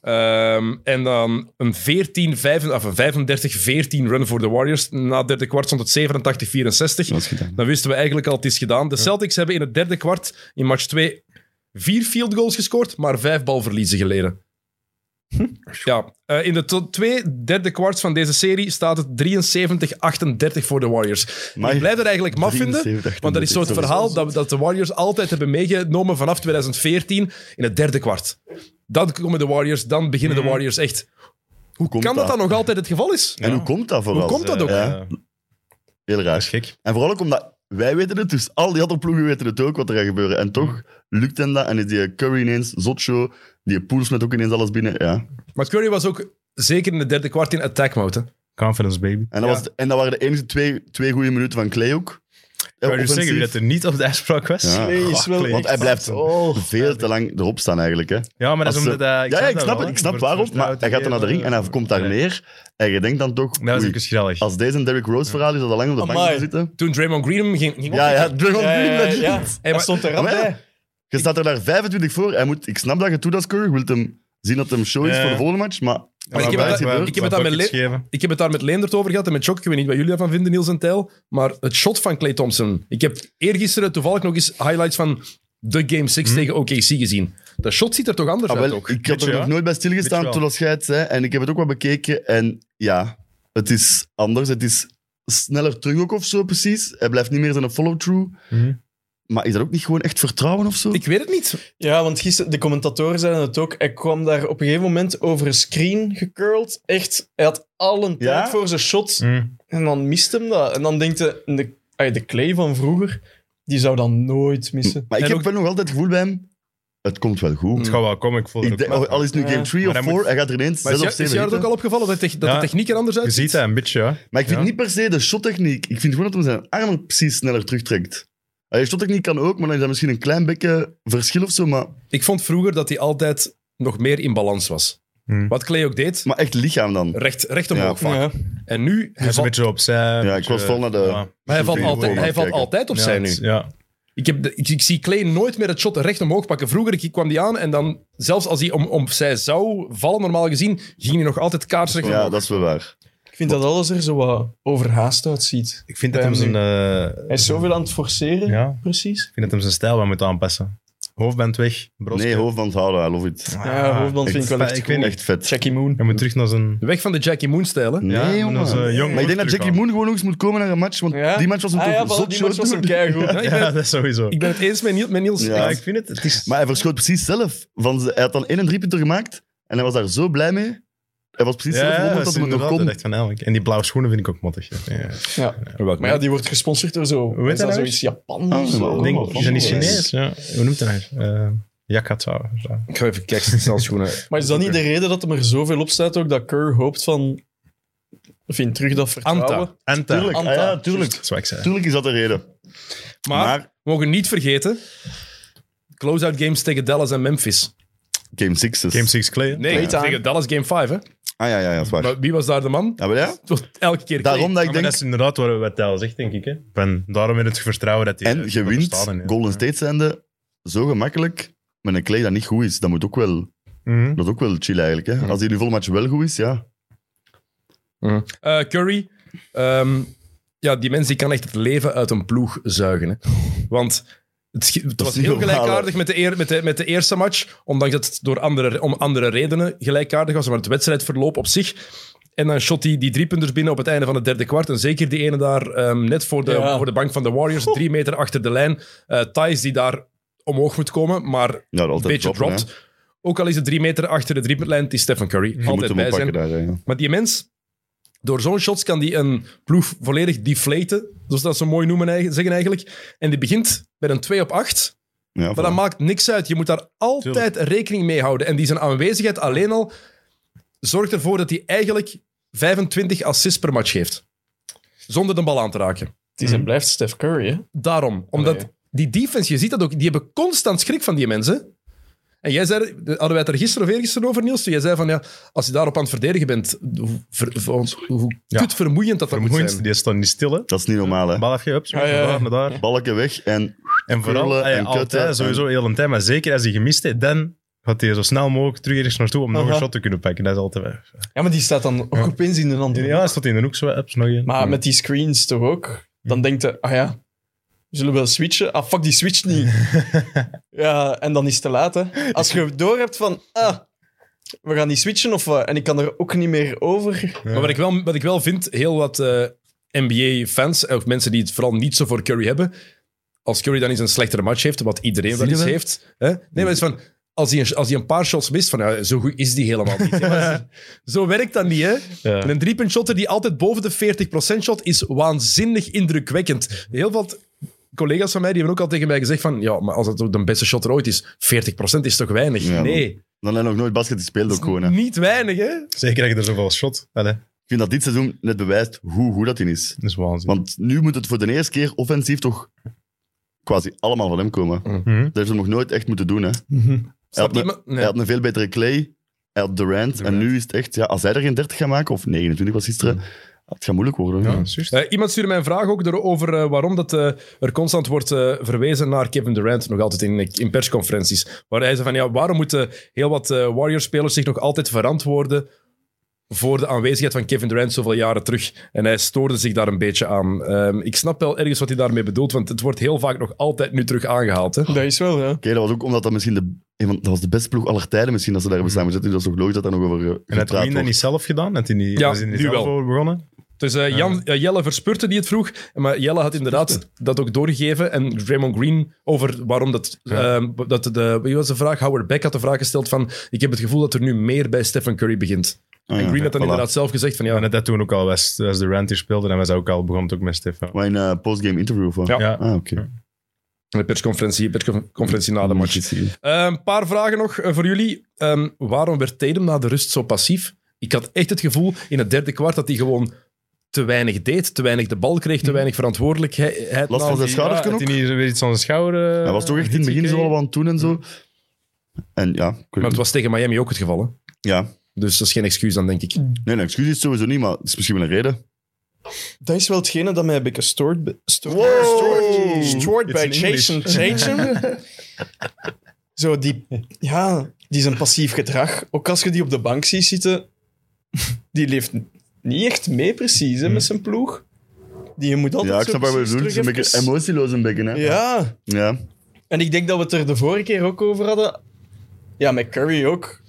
Ehm, en dan een 14, 35-14 run voor de Warriors. Na het derde kwart stond het 87-64. Dat is gedaan. Dan wisten we eigenlijk al, het is gedaan. De Celtics hebben in het derde kwart, in match 2, vier field goals gescoord, maar vijf balverliezen geleden. Hm. Ja, eh, in de to- twee derde kwarts van deze serie staat het 73-38 voor de Warriors. Maar- ik blijf er eigenlijk maf vinden, 73-38, want dat is zo'n dat is- verhaal dat, dat de Warriors altijd hebben meegenomen vanaf 2014 in het derde kwart. Dan komen de Warriors, dan beginnen de Warriors echt. Hoe Hm. komt Kan dat dan nog altijd het geval is? En hoe komt dat vooral? Hoe komt dat ook? Ja, Eh, heel dat is raar. gek. En vooral ook omdat wij weten het, dus al die andere ploegen weten het ook wat er gaat gebeuren. En toch lukt hem dat. En is die Curry ineens, Zotcho, die Poels met ook ineens alles binnen. Ja. Maar Curry was ook zeker in het derde kwart in attack mode. hè. Confidence, baby. En, dat Ja. was, en dus dat waren de enige twee, twee goede minuten van Clay ook. Wou je zeggen wie dat er niet op de afspraak was? Ja. Nee, is Goh, wel- Clay, Want hij ik blijft snap veel te lang erop staan eigenlijk. Hè. het. Ja, maar dat is Als eh, ze- omdat... hij- ja, ja, ik dat snap wel, het. Ik hè. snap Wordt waarom. Maar vertrouwd hij gaat dan naar de ring en hij eh, komt daar nee. neer. En je denkt dan toch... Dat is oei, ook eens geweldig. als deze een Derrick Rose verhaal is, dat al lang op de bank Amai. moet zitten. Toen Draymond Green hem ging, ging Ja, ja, oppikken. Draymond Ja, Green, ja, dat- ja. maar- Hij stond er rap Maar Ah, ja, bij. Je staat er daar 25 voor. Hij moet, ik snap dat je het doet als Curry. Je wilt hem zien dat hem show is Ja. voor de volgende match. Maar Ah, Maar ik heb maar het het daar- gebeurt. ik heb het daar met Buckets Le- geven. ik heb het daar met Leendert over gehad en met Jock. Ik weet niet wat jullie daarvan vinden, Niels en Tijl. Maar het shot van Clay Thompson. Ik heb eergisteren toevallig nog eens highlights van de Game 6 tegen OKC gezien. Dat shot ziet er toch anders Ah, uit wel, ook. ik had Beetje, er nog ja. nooit bij Beetje stilgestaan wel. toen als jij het zei. En ik heb het ook wat bekeken. En ja, het is anders. Het is sneller terug ook of zo precies. Hij blijft niet meer zijn follow-through. Mhm. Maar is dat ook niet gewoon echt vertrouwen of zo? Ik weet het niet. Ja, want gisteren, de commentatoren zeiden het ook. Hij kwam daar op een gegeven moment over een screen gecurled. Echt, hij had al een tijd Ja? voor zijn shot. Mm. En dan mist hem dat. En dan denkt hij, de, ay, de Clay van vroeger, die zou dat nooit missen. maar ik En heb ook- Mm. wel nog altijd het gevoel bij hem, het komt wel goed. Het gaat wel komen, ik voel Ik het denk, oh, ook wel. al is het nu Ja. game 3 Maar of hij 4, moet- hij gaat er ineens Maar is, zelf jou- of is 7 jou dat ook al opgevallen dat, de tech- dat Ja. de techniek er anders Je uitziet? ziet dat een beetje, ja. Maar ik vind Ja. niet per se de shottechniek. Ik vind gewoon dat hij zijn armen precies sneller terugtrekt. Allee, shottechniek kan ook, maar dan is dat misschien een klein beetje verschil of zo. Maar, Ik vond vroeger dat hij altijd nog meer in balans was. Hmm. Wat Clay ook deed, maar echt lichaam dan. recht, recht omhoog vaak. Ja. En nu, hij Dus een valt, beetje opzij. Ja, ik was vol naar de- maar hij valt, Sorry, altijd, ik wil hij valt kijken. altijd opzij nu. Ja, Ik, heb de- ik, ik zie Clay nooit meer het shot recht omhoog pakken. Vroeger ik kwam die aan en dan, zelfs als hij om, opzij zou vallen, normaal gezien, ging hij nog altijd kaarsrecht Ja, omhoog. dat is wel waar. Ik vind dat alles er zo wat overhaast uitziet. ik vind dat hem Bij hem zijn... eh, Hij is zoveel aan het forceren, Ja, ik precies. vind dat hem zijn stijl wel moet aanpassen. Hoofdband weg, broske. Nee, hoofdband houden, I love it. Ah, Ja, hoofdband vind ik wel Ik echt weet goed. niet. Echt vet. Jackie Moon. Hij moet terug naar zijn... De weg van de Jackie Moon-stijl, hè? Nee, Ja, jongen. dat is, eh, jong maar ik denk dat terug Jackie aan. Moon gewoon nog eens moet komen naar een match, want Ja? die match was hem Ah, ja, toch wel, zot die short match was hem doen. keigoed. Ja, ik, Ja, ben, dat is sowieso. ik ben het eens met Niel- met Niels. Ja. Ja, Ik- ik vind het... het is... Maar hij verschoot precies zelf. Van ze- hij had dan één en drie punten gemaakt en hij was daar zo blij mee. Hij was precies zelf ja, rond dat dat hij het nog Oh, inderdaad, kon. dat echt van elk. En die blauwe schoenen vind ik ook mottig. Ja. Ja. Maar ja, die wordt gesponsord door zo. heet is dat dat zoiets Japan nou Ah, of zo? wel. Ik denk, Oh, is dat niet van- Chinees? Ja. Hoe noemt hij het? Eh Yakata. of zo. Ik ga even kijken, snel schoenen. Maar is dat niet de reden dat hem er zoveel op staat ook dat Kerr hoopt van... Vind terug dat vertrouwen? Anta. Anta. Tuurlijk, ah, Anta. ja, tuurlijk. Dat is wat ik zei. Tuurlijk is dat de reden. Maar, Maar we mogen niet vergeten, close-out games tegen Dallas en Memphis. Game 6 is... Game 6 Clay. Nee, Playtime. tegen Dallas Game 5, hè? Ah ja, ja, ja, dat is waar. Maar wie was daar de man? Ja, maar ja, Het wordt elke keer Clay. daarom dat ik maar denk... dat is inderdaad wat, wat Tel zegt, denk ik. Hè. Van, daarom in het vertrouwen dat hij... En eh, je wint Golden State zijnde zo gemakkelijk met een Clay dat niet goed is. Dat moet ook wel, Mhm. dat is ook wel chill eigenlijk. Hè? Als die nu volle match wel goed is, ja. Eh, Curry. ehm, ja, die mens die kan echt het leven uit een ploeg zuigen. Hè. Want het, schi- het Dat was is niet heel normaal, gelijkaardig met de, eer- met, de, met de eerste match. Ondanks dat het door andere, om andere redenen gelijkaardig was. Maar het wedstrijdverloop op zich. En dan shot hij die driepunters binnen op het einde van het derde kwart. En zeker die ene daar ehm, net voor de, Ja. voor de bank van de Warriors. Drie meter achter de lijn. Eh Thijs die daar omhoog moet komen. Maar ja een altijd beetje droppen, dropt. hè. Ook al is het drie meter achter de driepuntlijn. Het is Stephen Curry. Je moet altijd hem bij zijn. oppakken daar. hè, ja. Maar die mens, door zo'n shots kan die een ploeg volledig deflaten, zoals dat ze mooi noemen, eigen- zeggen eigenlijk. En die begint met een 2 op 8, Ja, maar dat maakt niks uit. Je moet daar altijd rekening mee houden. En die zijn aanwezigheid alleen al zorgt ervoor dat hij eigenlijk 25 assists per match geeft. Zonder de bal aan te raken. Het is en blijft Steph Curry, hè? Daarom. Omdat Allee. die defense, je ziet dat ook, die hebben constant schrik van die mensen. En jij zei, hadden wij het er gisteren of eergisteren over, Niels? Toen jij zei van, ja, als je daarop aan het verdedigen bent, hoe, ver- ver- hoe Ja. kut vermoeiend dat dat moet Vermoeiend, zijn. die staan niet stil. Hè. dat is niet normaal, hè. Bal afgeven, hups, Ja, ja, ja. naar daar, naar daar. Balken weg en... En vooral, Krullen eh, en altijd, kutten en- sowieso heel een tijd, maar zeker als hij gemist heeft, dan gaat hij zo snel mogelijk terug ergens naartoe om nog Aha. een shot te kunnen pakken. Dat is altijd... Ja, maar die staat dan ook opeens in de andere. Ja, stond hij in de hoek zo, ups, nog een. Maar met die screens toch ook? Dan denkt hij, ah ja, we zullen wel switchen. Ah, fuck, die switch niet. ja, en dan is het te laat, hè. Als je door hebt van, ah, we gaan niet switchen of wat, en ik kan er ook niet meer over. Maar wat ik, wel, wat ik wel vind, heel wat eh, NBA-fans, ook mensen die het vooral niet zo voor Curry hebben, als Curry dan eens een slechtere match heeft, wat iedereen wel Zie je eens wel? heeft, hè? nee, maar het is van, als hij, een, als hij een paar shots mist, van ja, zo goed is die helemaal niet. Ja, maar zo werkt dat niet, hè. Ja. En een driepuntshotter die altijd boven de 40% shot is waanzinnig indrukwekkend. Heel wat collega's van mij die hebben ook al tegen mij gezegd van ja, maar als het ook de beste shot er ooit is, 40% is toch weinig? Ja, nee, Dan heb je nog nooit basket gespeeld ook gewoon, hè. niet weinig, hè. Zeker dat je er zoveel shot. Allee. Ik vind dat dit seizoen net bewijst hoe goed dat hij is. Dat is waanzin. Want nu moet het voor de eerste keer offensief toch quasi allemaal van hem komen. Mm. Mhm. Dat heeft hij nog nooit echt moeten doen. Hè. Hij, Snapt had een, iemand- nee. hij had een veel betere Clay, hij had Durant, En nu is het echt, ja, als hij er geen 30 gaat maken, of 29 was gisteren, het gaat moeilijk worden. Ja, Ja. juist. Eh, iemand stuurde mij een vraag ook door- over eh, waarom dat, eh, er constant wordt eh, verwezen naar Kevin Durant, nog altijd in, in persconferenties. Waar hij zei van, ja, waarom moeten heel wat eh Warriors-spelers zich nog altijd verantwoorden voor de aanwezigheid van Kevin Durant zoveel jaren terug? En hij stoorde zich daar een beetje aan. Ehm, ik snap wel ergens wat hij daarmee bedoelt, want het wordt heel vaak nog altijd nu terug aangehaald. Hè? Dat is wel, ja. Oké, dat was ook omdat dat misschien de, een van- dat was de beste ploeg aller tijden misschien dat ze daar hebben samengezet. Dus dat is toch logisch dat daar nog over eh, En had gepraat Wien dat wordt. niet zelf gedaan? Had hij niet, Ja, was hij niet nu zelf wel. over begonnen? Dus eh, Jan, eh, Jelle verspurte die het vroeg, maar Jelle had inderdaad dat ook doorgegeven. En Draymond Green over waarom dat... ehm, dat de, wie was de vraag? Howard Beck had de vraag gesteld van ik heb het gevoel dat er nu meer bij Stephen Curry begint. Ah, en ja. Green had dan Voilà. inderdaad zelf gezegd van ja... En dat had toen ook al, was, als de Rant hier speelde, dan was hij ook al begonnen ook met Stefan. Maar in een postgame interview of wat? Ja. Ja. Ah, oké. De persconferentie, persconferentie na de Moet match. je het zien. Eh, Een paar vragen nog eh, voor jullie. Ehm, waarom werd Tatum na de rust zo passief? Ik had echt het gevoel in het derde kwart dat hij gewoon te weinig deed, te weinig de bal kreeg, te weinig verantwoordelijkheid. Last van nam. zijn schouders had kunnen hij niet weer iets aan zijn schouder? eh, Hij was toch echt in iets het begin zo gekregen? al aan het doen en zo. En ja, ik Maar weet het het niet. was tegen Miami ook het geval, hè? ja. Dus dat is geen excuus dan, denk ik. Nee, nee, excuus is het sowieso niet, maar het is misschien wel een reden. Dat is wel hetgene dat mij een beetje stoort. be- Stoort, Wow! stoort bij It's in Jason Tatum. Zo die... Ja, die zijn passief gedrag. Ook als je die op de bank ziet zitten, die leeft n- niet echt mee precies Hmm. hè, met zijn ploeg. Die moet altijd Ja, ik zo snap wat we precies doen. Het is een terug beetje even- emotieloos een beetje, hè. Ja, Ja. en ik denk dat we het er de vorige keer ook over hadden. Ja, met Curry ook.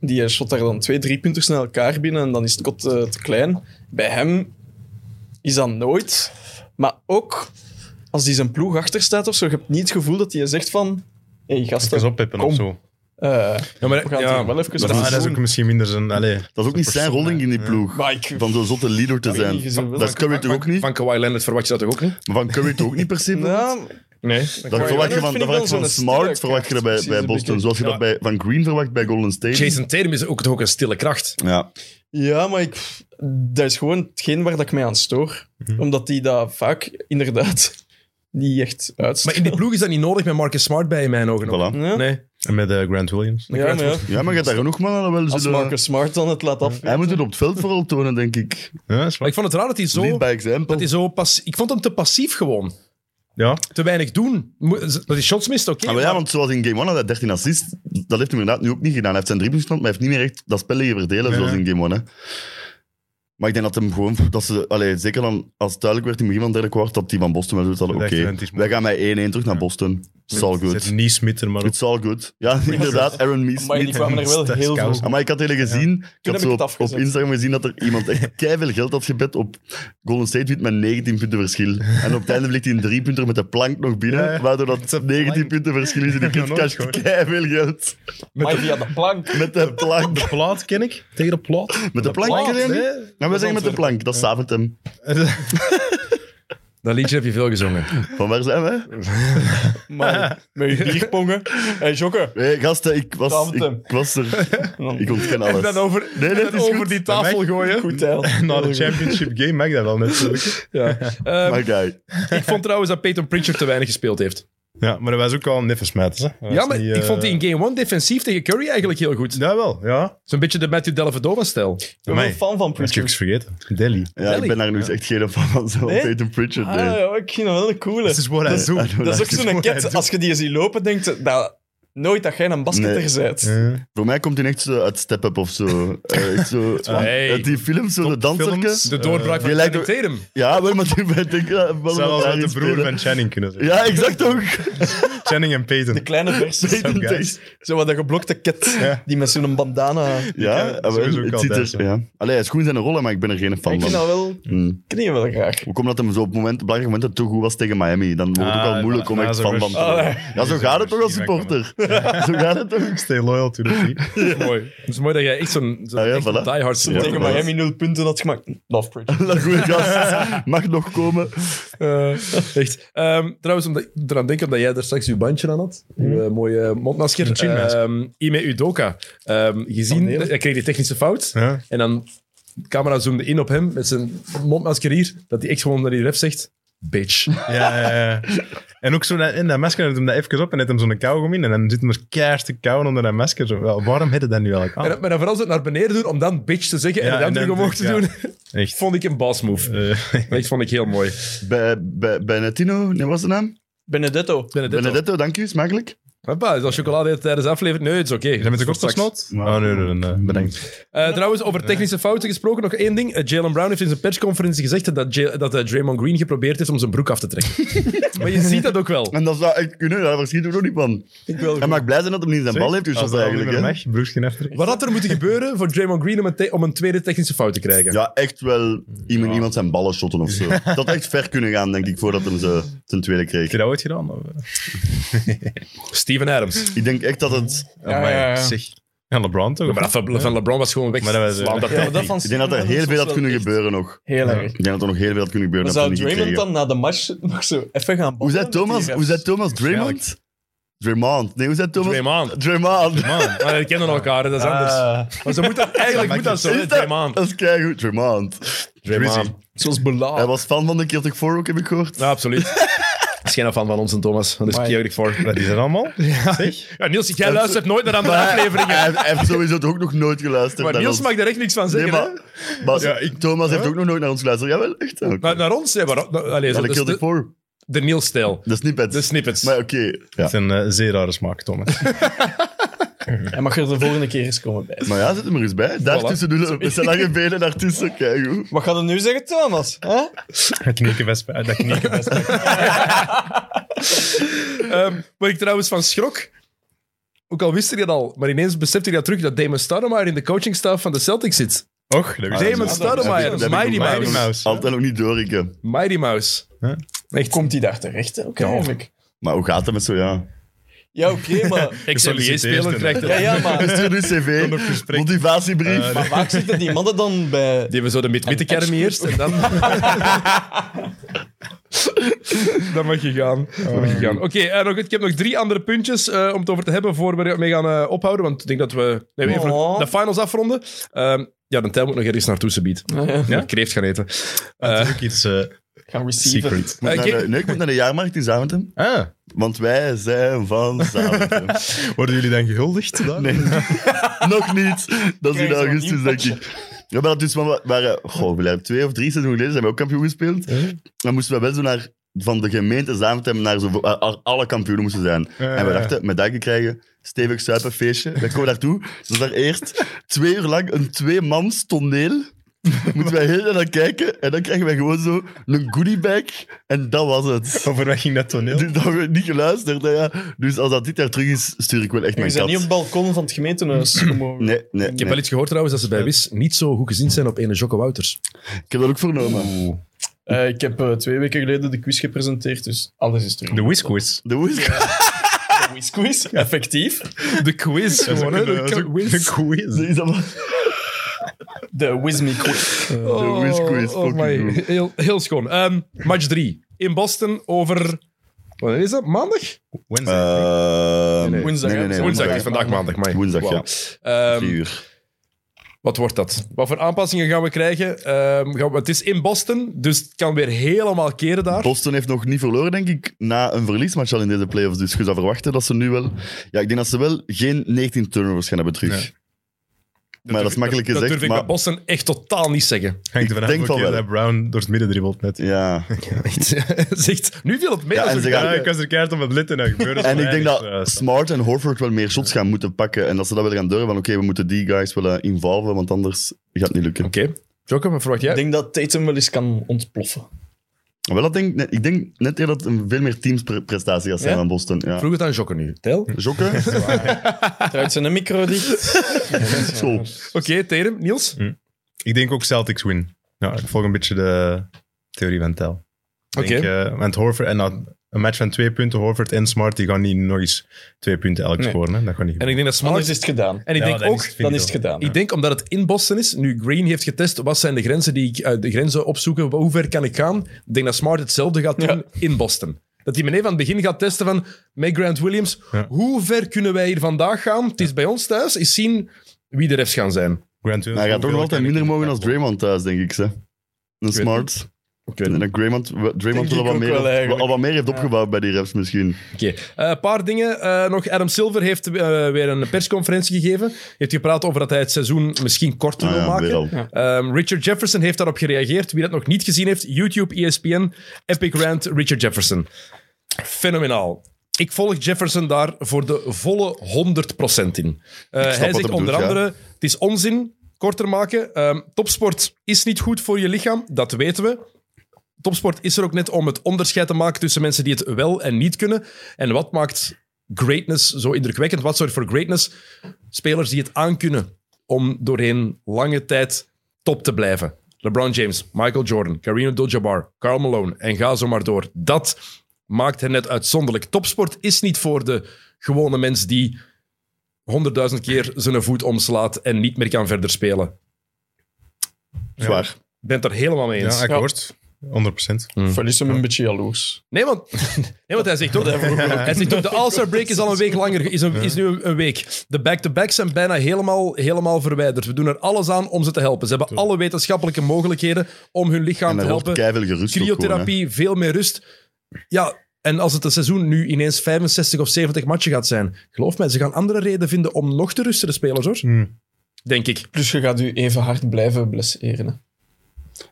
Die eh, shot daar dan twee, drie punters naar elkaar binnen en dan is het kot eh, te klein. Bij hem is dat nooit. Maar ook als hij zijn ploeg achter staat of zo, je hebt niet het gevoel dat hij zegt van... Hé, hey, Even gasten, oppippen Kom. of zo. eh, Ja, we maar, gaan ja, het hier wel even Maar over dat is doen. ook misschien minder zijn... Allee. Dat is ook niet zijn persoon, rolling in die ploeg. Maar ik- Van zo'n zotte leader te Dat heb ik niet zijn. gezien. Dat is Curry toch ook niet? van Kawhi Leonard verwacht je dat toch ook niet? Maar Van Curry toch ook niet per se? Ja, Nee. Dat Kawhi verwacht je van, Leonard vind dat verwacht ik je wel van zo'n Smart, sterke verwacht je dat bij, kracht, bij precies, Boston. een Zoals je dat bij Van Green verwacht bij Golden State. Jason Tatum is ook, toch ook een stille kracht. Ja. Ja, maar ik, dat is gewoon hetgeen waar dat ik mij aan stoor. Mhm. Omdat die dat vaak inderdaad niet echt Maar uitstraalt. in die ploeg is dat niet nodig met Marcus Smart bij in mijn ogen. ook. Voilà. Ja, Nee. En met eh, Grant Williams. ja, maar ja. Ja, maar je hebt daar genoeg mannen wel Als zullen... Marcus Smart dan het laat af. Hij moet het op het veld vooral tonen, denk ik. Ja, dat is Maar waar. ik vond het raar dat hij zo... Lead by example. Dat hij zo pas, ik vond hem te passief gewoon. Ja. Te weinig doen. Mo- Dat hij shots mist, oké. Ah, maar ja, maar- want zoals in Game 1 had hij 13 assists. Dat heeft hij inderdaad nu ook niet gedaan. Hij heeft zijn driepuntsstand, maar hij heeft niet meer echt dat spel liggen verdelen Nee. zoals in Game 1. Hè. Maar ik denk dat hem gewoon... Dat ze, allee, zeker dan als het duidelijk werd in het begin van het derde kwart dat die van Boston wel zoiets hadden. Dat Oké, echt een antisme- wij gaan met 1-1 terug naar Boston. It's all Zet good. niet smitten, maar ook... It's all good. Ja, inderdaad. Aaron Mees. Maar die kwamen er wel Dat is heel veel. kous. op. Ah, Maar ik had het gezien, ik heb had ik zo op, op het afgezet. Instagram gezien dat er iemand echt keiveel geld had gebed op Golden State wint met 19 punten verschil. En op het einde vliegt hij een drie punter met de plank nog binnen, Ja, ja. waardoor Het is een dat 19 plank. punten verschil is en die Ik heb kind nog casht nooit keiveel geld. Maar via de plank. Met de plank. De plaat ken ik. Tegen de plaat. Met de plank plank, erin? hè? Nou, we zeggen met de plank, dat savent hem. Dat liedje heb je veel gezongen. Van waar zijn we? Maar met je bierpongen. Hé, Jokke. Nee, gasten, ik was, Savent hem. ik was er. Ik ontken En dan alles. over, Nee, nee, en het dan is over goed. die tafel Mij- gooien. Goed tijl. Na de championship game mag dat wel net zo lukken. Ehm, My guy. ik vond trouwens dat Peyton Pritchard te weinig gespeeld heeft. Ja, maar dat was ook al een niffe smet. Ja, maar ik vond die eh, in game 1 defensief tegen Curry eigenlijk heel goed. eh, Ja, wel. Ja. Zo'n beetje de Matthew Dellavedova-stijl. Ik ben wel fan van Dat heb ik Pritchard. vergeten. Delhi. Ja, ik ben daar nu eens echt geen fan van, zo Nee? Peyton Pritchard. Ah, nee. ja, ik vind dat wel een coole. Dat is wat hij Dat- doet. Dat is ook zo'n what I ket. Als je die ziet lopen, denkt je dat nooit dat jij een basketter Nee. bent. Ja. Voor mij komt hij echt zo uit Step Up of zo. Eh, echt zo Hey. uit die films, zo de danserke. films. De doorbraak Eh, die van lijkt Channing Tatum. Ja, wel, maar die ben ik wel Dat zou wat wel daarin de broer spelen. van Channing kunnen zijn. Ja, exact ook. Channing en Peyton. De kleine versie. Peyton guys. Tatum. Zo wat een geblokte ket. Die met zo'n bandana. Ja, ken- ah, wel, sowieso ook het al ziet thuis, er... Ja. Allee, hij is goed in zijn rollen, maar ik ben er geen fan Ik vind van. dat wel... Hm. Ik knie wel graag. Ook omdat hem zo op moment, belangrijke momenten te goed was tegen Miami. Dan wordt het ook Ah, al moeilijk om ja, echt zo fan van te rustig. worden. Ah, Ja, zo Zo gaat het toch als rustig wegkomen. supporter. Zo gaat het toch. Stay loyal to the team. Mooi. Het is mooi dat jij echt zo'n zo'n Ah, ja, echt een voilà. diehard Als hij supporter tegen bent. Miami nul punten had gemaakt. Love Pritchard. Dat goede gast mag nog komen. Eh, echt. Ehm, trouwens, omdat ik eraan denk dat jij daar straks je bandje aan had. Je Mhm. eh, mooie mondmasker. chinmasker. Ehm Ime Udoka. Ehm gezien, Oh, nee. hij kreeg die technische fout. Ja. En dan de camera zoomde in op hem met zijn mondmasker hier, dat hij echt gewoon naar die ref zegt, bitch. Ja, ja, ja. En ook zo dat- in dat masker doet hem dat even op en heeft hem zo'n kauwgom in. En dan zit hem er keihard te kauwen onder dat masker. Zo, wel, waarom heet het dat nu eigenlijk aan? En, maar dan vooral zo het naar beneden doen om dan bitch te zeggen en Ja, het dan en terug dan omhoog te terug, doen. Echt. Vond ik een boss move. Eh, Dat vond ik heel mooi. Bij, bij, bij Netino, nee, wat was de naam? Benedetto. Benedetto. Benedetto, dank u, smakelijk. Papa, is al chocolade eet tijdens de aflevering? Nee, het is oké. zijn we te kort Tot tot straks. slot? Oh, nee, nee, nee, nee. Bedankt. Eh, trouwens, over technische fouten gesproken, nog één ding. Eh, Jalen Brown heeft in zijn persconferentie gezegd dat, J- dat eh, Draymond Green geprobeerd heeft om zijn broek af te trekken. maar je ziet dat ook wel. En dat is wel echt kunnen, daar verschieten we nog niet van. Ik wil Hij mag blij zijn dat hij niet zijn bal heeft Als geschoten dat eigenlijk. niet meer hè. mag, broers geen aftrek. Wat had er moeten gebeuren voor Draymond Green om een, te- om een tweede technische fout te krijgen? Ja, echt wel iemand, iemand zijn ballen shotten of zo. Dat had echt ver kunnen gaan, denk ik, voordat hij ze ten tweede kreeg. Heb je dat ooit gedaan? Of? Steven Adams. Ik denk echt dat het... Ja, ja, ja. Zeg. En LeBron toch? Ja, Maar dat van, van LeBron was gewoon weg. Maar dat was- Slaan, dat Ja, maar telt dat niet. van Ik denk dat er Steven heel veel had Adams kunnen was wel gebeuren nog. echt Heel erg. Ik denk dat er nog heel veel had kunnen gebeuren. Maar dat had zou hij niet Draymond gekregen. dan na de match nog zo even gaan Hoe babbelen zei met die Thomas? refs? Hoe zei Thomas? Draymond? Draymond. Nee, hoe zei Thomas? Draymond. Draymond. Man. Maar ah, die kennen elkaar, hè, dat Ah. is anders. Maar ze moeten, eigenlijk moet dat zo, hè, Is dat- Draymond. Dat is keigoed. Draymond. Drizzy. Draymond. Zoals belaagd. Hij was fan van de Celtic 4 ook, heb ik gehoord. Ja, absoluut. Dat is geen fan van ons en Thomas. Dat is Maar- ik voor. Wat is dat allemaal? Ja, Niels, jij luistert nooit naar andere Maar hij, afleveringen. hij- hij heeft sowieso toch ook nog nooit geluisterd Maar naar Niels ons. mag daar echt niks van Nee, zeggen. hè? maar, maar Thomas heeft Huh? ook nog nooit naar ons geluisterd. Jawel, echt. Ja, Naar, naar ons, hè? Maar, nou, allee, zo, Ja, de dat is Celtic de, 4. de Niels-stijl. De snippets. De snippets. Maar oké. Dat Ja. is een eh, zeer rare smaak, Thomas. Hij mag er de volgende keer eens komen bij. Maar ja, zit er maar eens bij. Daartussen doen we met zijn lange benen daartussen. Keigoed. Wat gaat er nu zeggen, Thomas? Hè? Het kniekenbest. eh, Dat kniekenbest. Ehm, waar ik trouwens van schrok, ook al wist ik dat al, maar ineens besefte ik dat terug, dat Damon Stoudemire in de coachingstaf van de Celtics zit. Och, dat wist ik Damon niet. Stoudemire, Dat heb ik- Mighty dat Mouse. heb ik Mighty Mouse. Altijd nog niet door, eh. Rieke. Mighty Mouse. Echt? Komt hij daar terecht? hè? Oké, Ja. eigenlijk. Maar hoe gaat dat met zo, ja? Ja, oké, maar... Ex-NBA-speler Dus krijgt Ja, het. ja, maar... Stuur uw Kom op cv, gesprek. motivatiebrief. Eh, Maar vaak zitten die mannen dan bij... Die hebben zo de mid-middenkerm Een eerst en dan... Dan mag je gaan. Dan mag je gaan. Oké, eh, nog- ik heb nog drie andere puntjes eh, om het over te hebben voor we mee gaan eh, ophouden. Want ik denk dat we nee, we even Oh. nog de finals afronden. Ehm, ja, de tel moet nog ergens naartoe, ze biedt. Ja? Kreeft gaan eten. Ah, Het is ook iets eh, Gaan receiven. secret. Ik moet Eh, naar de, kijk- nee, ik moet naar de jaarmarkt in Zaventem. Ah, Want wij zijn van Zaventem. worden jullie dan gehuldigd? daar? Nee, nog niet. Dat is Krijg in je zo'n augustus, denk ik. Ja, maar dat is maar, maar eh, goh, we hebben twee of drie seizoenen geleden zijn we ook kampioen gespeeld. Dan moesten we wel zo naar, van de gemeente Zaventem naar zo, eh, al- alle kampioenen moesten zijn. Ja, en we ja. dachten, medaille krijgen, stevig zuipen, feestje. Dan komen we daartoe. Dus daar eerst twee uur lang een tweemans toneel. Moeten wij heel naar kijken. En dan krijgen wij gewoon zo een goodiebag. En dat was het. Over wat ging dat toneel? Dus dat hebben we niet geluisterd. hè, ja. Dus als dat dit jaar terug is, stuur ik wel echt Je mijn bent kat. niet op het balkon van het gemeentehuis gemogen. Nee, nee. Ik heb wel iets gehoord trouwens dat ze bij Wis niet zo goed gezien zijn op ene Jocko Wouters. Ik heb dat ook Mm. vernomen. Eh, ik heb eh, twee weken geleden de quiz gepresenteerd, dus alles is terug. De whiskwiz. De woes. De whiz quiz, effectief. De quiz gewoon, hè? eh, De De quiz. Is dat wel- De Wizme quiz. De whiz quiz, Oh, oh fucking my. goed. Heel, heel schoon. Ehm, match 3 in Boston over. Wat is dat? Maandag? Wednesday. Ehm, Nee, woensdag, nee, nee, hè? nee, Woensdag, het is woensdag. vandaag maandag. Amai. Woensdag, Wauw. ja. Ehm, Drie uur. wat wordt dat? Wat voor aanpassingen gaan we krijgen? Ehm, gaan we- het is in Boston, dus het kan weer helemaal keren daar. Boston heeft nog niet verloren, denk ik, na een verliesmatch al in deze playoffs. Dus je zou verwachten dat ze nu wel... Ja, ik denk dat ze wel geen 19 turnovers gaan hebben terug. Nee. Maar dat is makkelijk gezegd. Dat durf ik maar... bij Boston echt totaal niet zeggen. Hangt er denk vanaf van hoe wel. dat Brown door het midden dribbelt net. Ja. Zegt, nu viel het mee. Ja, dat is en ook- ze Ja, gaan... ik was er keihard om het lid en dat gebeurde. En ik denk Eh, dat Smart en Horford wel meer shots gaan moeten pakken. En dat ze dat willen gaan durven. Van oké, we moeten die guys willen involven, want anders gaat het niet lukken. Oké. Jocko, wat verwacht jij? Ik denk dat Tatum wel eens kan ontploffen. Wel, dat denk, ik- ik denk net eerder dat het een veel meer teamsprestatie gaat zijn Ja? dan Boston. Ja. Vroeg het aan Jocko nu. Tel? Jokken? Eruit zijn micro dicht. Zo. Oké, Terem, Niels. Hm. Ik denk ook Celtics win. Ja, ik volg een beetje de theorie van Tel. Ik Oké. denk, eh, want Horford en dat- een match van twee punten, Horford en Smart, die gaan niet nog eens twee punten elk Nee. scoren. Hè. Dat gaat niet En ik denk dat Smart... Anders is het gedaan. En ik Ja, denk dan ook... het vind Dan ik is het wel. gedaan. Ik denk omdat het in Boston is, nu Green heeft getest, wat zijn de grenzen die ik, eh, de grenzen opzoeken, hoe ver kan ik gaan? Ik denk dat Smart hetzelfde gaat doen Ja. in Boston. Dat die meneer van het begin gaat testen van, met Grant Williams, Ja. hoe ver kunnen wij hier vandaag gaan? Het is bij ons thuis, is zien wie de refs gaan zijn. Grant Maar hij gaat toch nog altijd minder mogen als Draymond thuis, denk ik. Ze. Een weet smart. Ik weet En het dat Draymond, Draymond ik wel wat, ook meer, wel eigenlijk. al wat meer heeft opgebouwd bij die refs misschien. Oké, Eh, een paar dingen eh, nog. Adam Silver heeft eh, weer een persconferentie gegeven. Heeft gepraat over dat hij het seizoen misschien korter Ah wil ja, weer maken. al. Ehm, Richard Jefferson heeft daarop gereageerd. Wie dat nog niet gezien heeft, YouTube, E ESPN, Epic Rant, Richard Jefferson. Fenomenaal. Ik volg Jefferson daar voor de volle 100% in. Eh, hij wat zegt hij onder bedoelt, andere: ja. het is onzin, korter maken. Ehm, topsport is niet goed voor je lichaam, dat weten we. Topsport is er ook net om het onderscheid te maken tussen mensen die het wel en niet kunnen. En wat maakt greatness zo indrukwekkend? Wat zorgt voor greatness? Spelers die het aankunnen om doorheen lange tijd top te blijven. LeBron James, Michael Jordan, Kareem Abdul-Jabbar, Karl Malone en ga zo maar door. Dat maakt hen net uitzonderlijk. Topsport is niet voor de gewone mens die honderdduizend keer zijn voet omslaat en niet meer kan verder spelen. Ik Zwaar. Mm. ben het daar helemaal mee eens. Ja, akkoord. 100%. Van is hem een beetje jaloers. Nee, want, nee, want hij zegt toch... hij zegt toch, de All-Star break is al een week langer, ge- is, een, is nu een week. De back-to-backs zijn bijna helemaal, helemaal verwijderd. We doen er alles aan om ze te helpen. Ze hebben alle wetenschappelijke mogelijkheden om hun lichaam En te daar wordt helpen. keiveel gerust op gewoon, hè. Cryotherapie, veel meer rust. Ja, en als het een seizoen nu ineens 65 of 70 matchen gaat zijn, geloof mij, ze gaan andere reden vinden om nog te rusten, de spelers, hoor. Hmm. Denk ik. Plus je gaat je even hard blijven blesseren. hè.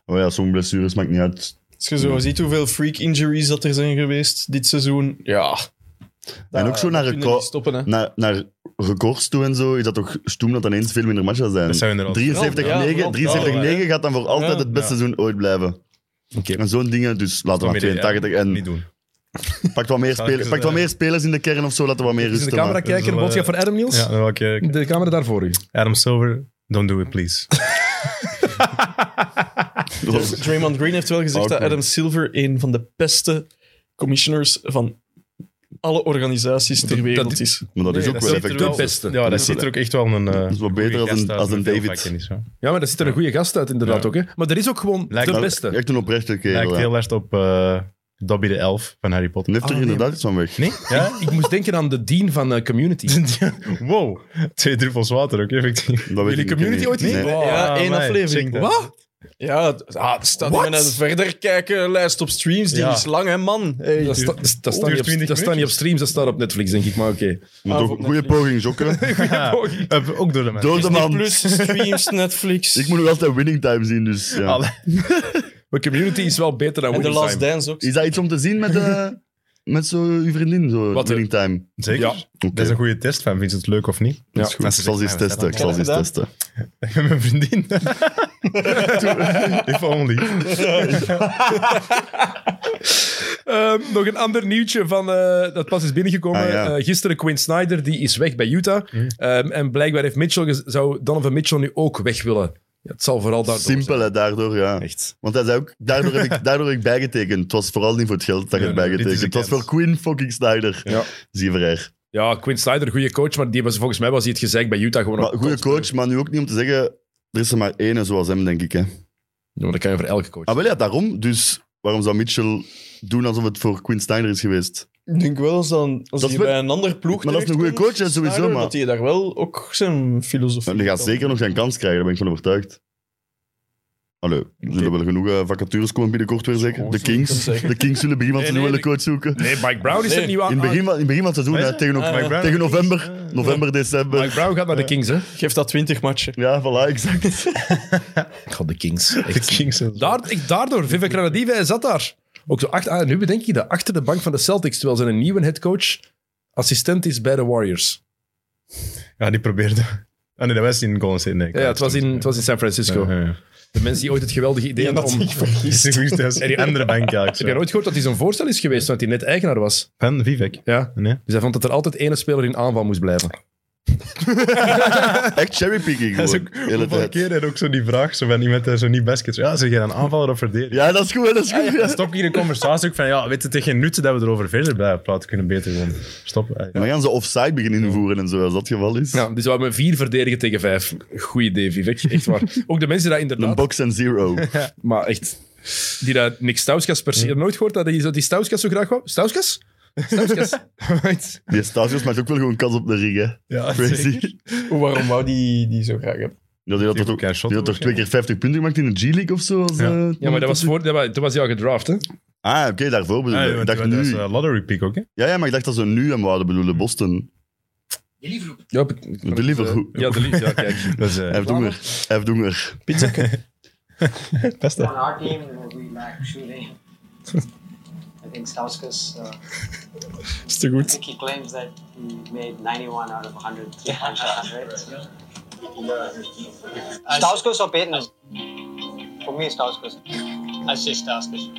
Oh ja, sommige blessures maakt niet uit. Als je zo ziet hoeveel freak injuries dat er zijn geweest dit seizoen. Ja. En ook zo naar een record- stoppen, hè. Naar, naar records toe en zo is dat toch stoem dat dan eens veel minder matchen zijn. Dat zijn inderdaad. 73-9 Ja, vooral vrouwen, hè. gaat dan voor altijd Ja. het beste Ja. seizoen ooit blijven. Oké. En zo'n dingen, dus laten we maar Dat midden, 82 en eh, Niet doen. pak wat, meer Zal spelers, ik pak wat eens, eh, meer spelers in de kern of zo, laten we wat meer Dus in rust de camera hebben. kijken, een Zullen we- boodschap voor Adam Niels. Ja, dan welke De camera daarvoor. u. Adam Silver, don't do it, please. Dus Draymond Green heeft wel gezegd dat Awkward. Adam Silver een van de beste commissioners van alle organisaties ter wereld dat- is. Maar dat is ook dat wel ziet er effectief. De wel- beste. Ja, dat is ziet wel- er ook echt wel een... eh, is wel beter goede dan gast een- uit als een met veel David. vakkennis, hoor. Ja, maar daar zit er een goede gast uit, inderdaad Ja. ook. Hè? Maar er is ook gewoon Lijkt de wel- beste. Echt een oprechte kerel. Lijkt ja. heel erg op eh, Dobby de Elf van Harry Potter. Nu heeft er Ah, nee, inderdaad iets van weg. Nee? Ja? Ik moest denken aan de dean van eh, Community. wow. Twee druppels water ook, effectief. Dat weet Jullie ik niet. Community ooit gezien? Nee. Wow. ja, Ah, Eh, één amai, aflevering. sick, hè. Wat? Ja, het- ah, er staat What? in een verder kijken lijst op streams. Die Ja. is lang, hè, man. Hey. Dat, sta- dat staat duurt niet op- 20 dat staat niet op streams, dat staat op Netflix, denk ik. Maar oké. Maar toch, Goede poging, Jokke. Ja. Eh, ook door de mensen. Door de man. Plus streams, Netflix. Ik moet nog altijd winning time zien, dus ja. Alle- Maar Community is wel beter dan en The Winning Last Time. Dance ook. Is dat iets om te zien met, eh, met zo uw vriendin, zo Wat, eh? winning time? Zeker. Ja. Oké. Dat is een goede test van, vind je het leuk of niet? Dat is goed. Ik Mensen zal ze eens zeggen, testen. Ik ja, zal dat ze eens heb ik testen. Met mijn vriendin. If only. Ehm, nog een ander nieuwtje van, eh, dat pas is binnengekomen. Ah, ja. Eh, gisteren Quinn Snyder, die is weg bij Utah. Ehm, en blijkbaar heeft Mitchell gez- zou Donovan Mitchell nu ook weg willen. Ja, het zal vooral daardoor Simpel, hè, daardoor, ja. zijn. Echt. Want hij zei ook, daardoor heb, ik, daardoor heb ik bijgetekend. Het was vooral niet voor het geld dat ik Ja, heb nee, dit is bijgetekend. een Het was voor kans. Queen fucking Snyder. Ja. Zie je verreer. Ja, Quinn Snyder, goede coach, maar die was, volgens mij was hij het gezegd bij Utah gewoon... Maar een goede coach, maar nu ook niet om te zeggen... Er is er maar één zoals hem, denk ik. Hè. Ja, maar dat kan je voor elke coach. Ah, wel ja, daarom. Dus waarom zou Mitchell doen alsof het voor Quinn Snyder is geweest? Ik denk wel als, dan, Dat als hij is wel- bij een ander ploeg Maar dat is een terechtkomt, goede coach, hè, sowieso, Snyder, maar- Dat hij daar wel ook zijn filosofie... En die gaat kan. zeker nog zijn kans krijgen, daar ben ik van overtuigd. Hallo, er zullen wel genoeg eh, vacatures komen binnenkort weer Oh, zeker. De Kings. zeker. De Kings zullen begin van het Nee, seizoen wel nee, een coach zoeken. Nee, Mike Brown is Nee. het nieuwe In het begin, van- in het begin van het seizoen, Weet hè, je? tegen, ook- Ah, ja. Brown. tegen november, november, december. Mike Brown gaat naar de Kings, hè? Geef dat 20 matchen. Ja, voilà, exact. God, de Kings. De Kings. en zo. Daar, ik, daardoor, Vivek Ranadive, hij zat daar. Ook zo achter, ah, nu bedenk ik dat, achter de bank van de Celtics, terwijl zijn een nieuwe headcoach assistent is bij de Warriors. Ja, die probeerde. Ah nee, dat was in Golden State. Nee, Ja, ja, het, was in, het was in San Francisco. Ja, ja, ja. De mensen die ooit het geweldige idee hadden om... Is het goed, dat is- En die andere bank, ja. ik Heb je zo. nooit gehoord dat hij zo'n voorstel is geweest, want hij net eigenaar was? Van Vivek. Ja. Nee. Dus hij vond dat er altijd één speler in aanval moest blijven. Echt cherrypicking Dat is gewoon. ook Hele hoeveel tijd. keer en ook zo die vraag zo van iemand die zo niet baskets. Ja, zeg je dan aanvaller of verdediger? Ja, dat is goed, hè, dat is goed. ja. Stop hier een conversatie ook van ja, weet je, tegen nutten dat we erover verder blijven praten, kunnen we beter gewoon stoppen. En dan gaan ze offside beginnen invoeren en zo, als dat het geval is. Ja, dus we hebben vier verdedigen tegen vijf. Goeie idee, Vivek. Echt waar. Ook de mensen die dat Een inderdaad... box en zero. Maar echt, die dat Nick Stauskas per se... Heb je nooit gehoord dat hij zo- die Stauskas zo graag wou? Stauskas? Stauskas? Die Stasios maakt ook wel gewoon kans op de ring, hè. Ja, Crazy. Waarom wou die die zo graag hebben? Ja, die had Die toch, ook- kein shot die had toch twee keer 50 punten gemaakt in de G-League of zo? Als, Ja. eh, Ja, maar dat was voor, dat, wa- toen was hij al gedraft, hè? Ah, oké, daarvoor bedoel Ah, ik. ja, ik want dacht dat is nu... eh, lottery pick ook, hè? Ja, ja, maar ik dacht dat ze nu hem wouden bedoelen, Boston. Ja, De Liverpool. Ja, de Liverpool. Ja, kijk. Dat is, eh, F. Doener. F. Doener. Beste. On our team, it will be back shooting. I think Stauskas, uh, Is te I goed. think he claims that he made 91 out of 100 three-point shots, right? Uh, Stauskas or Peyton? For me, Stauskas. I say Stauskas.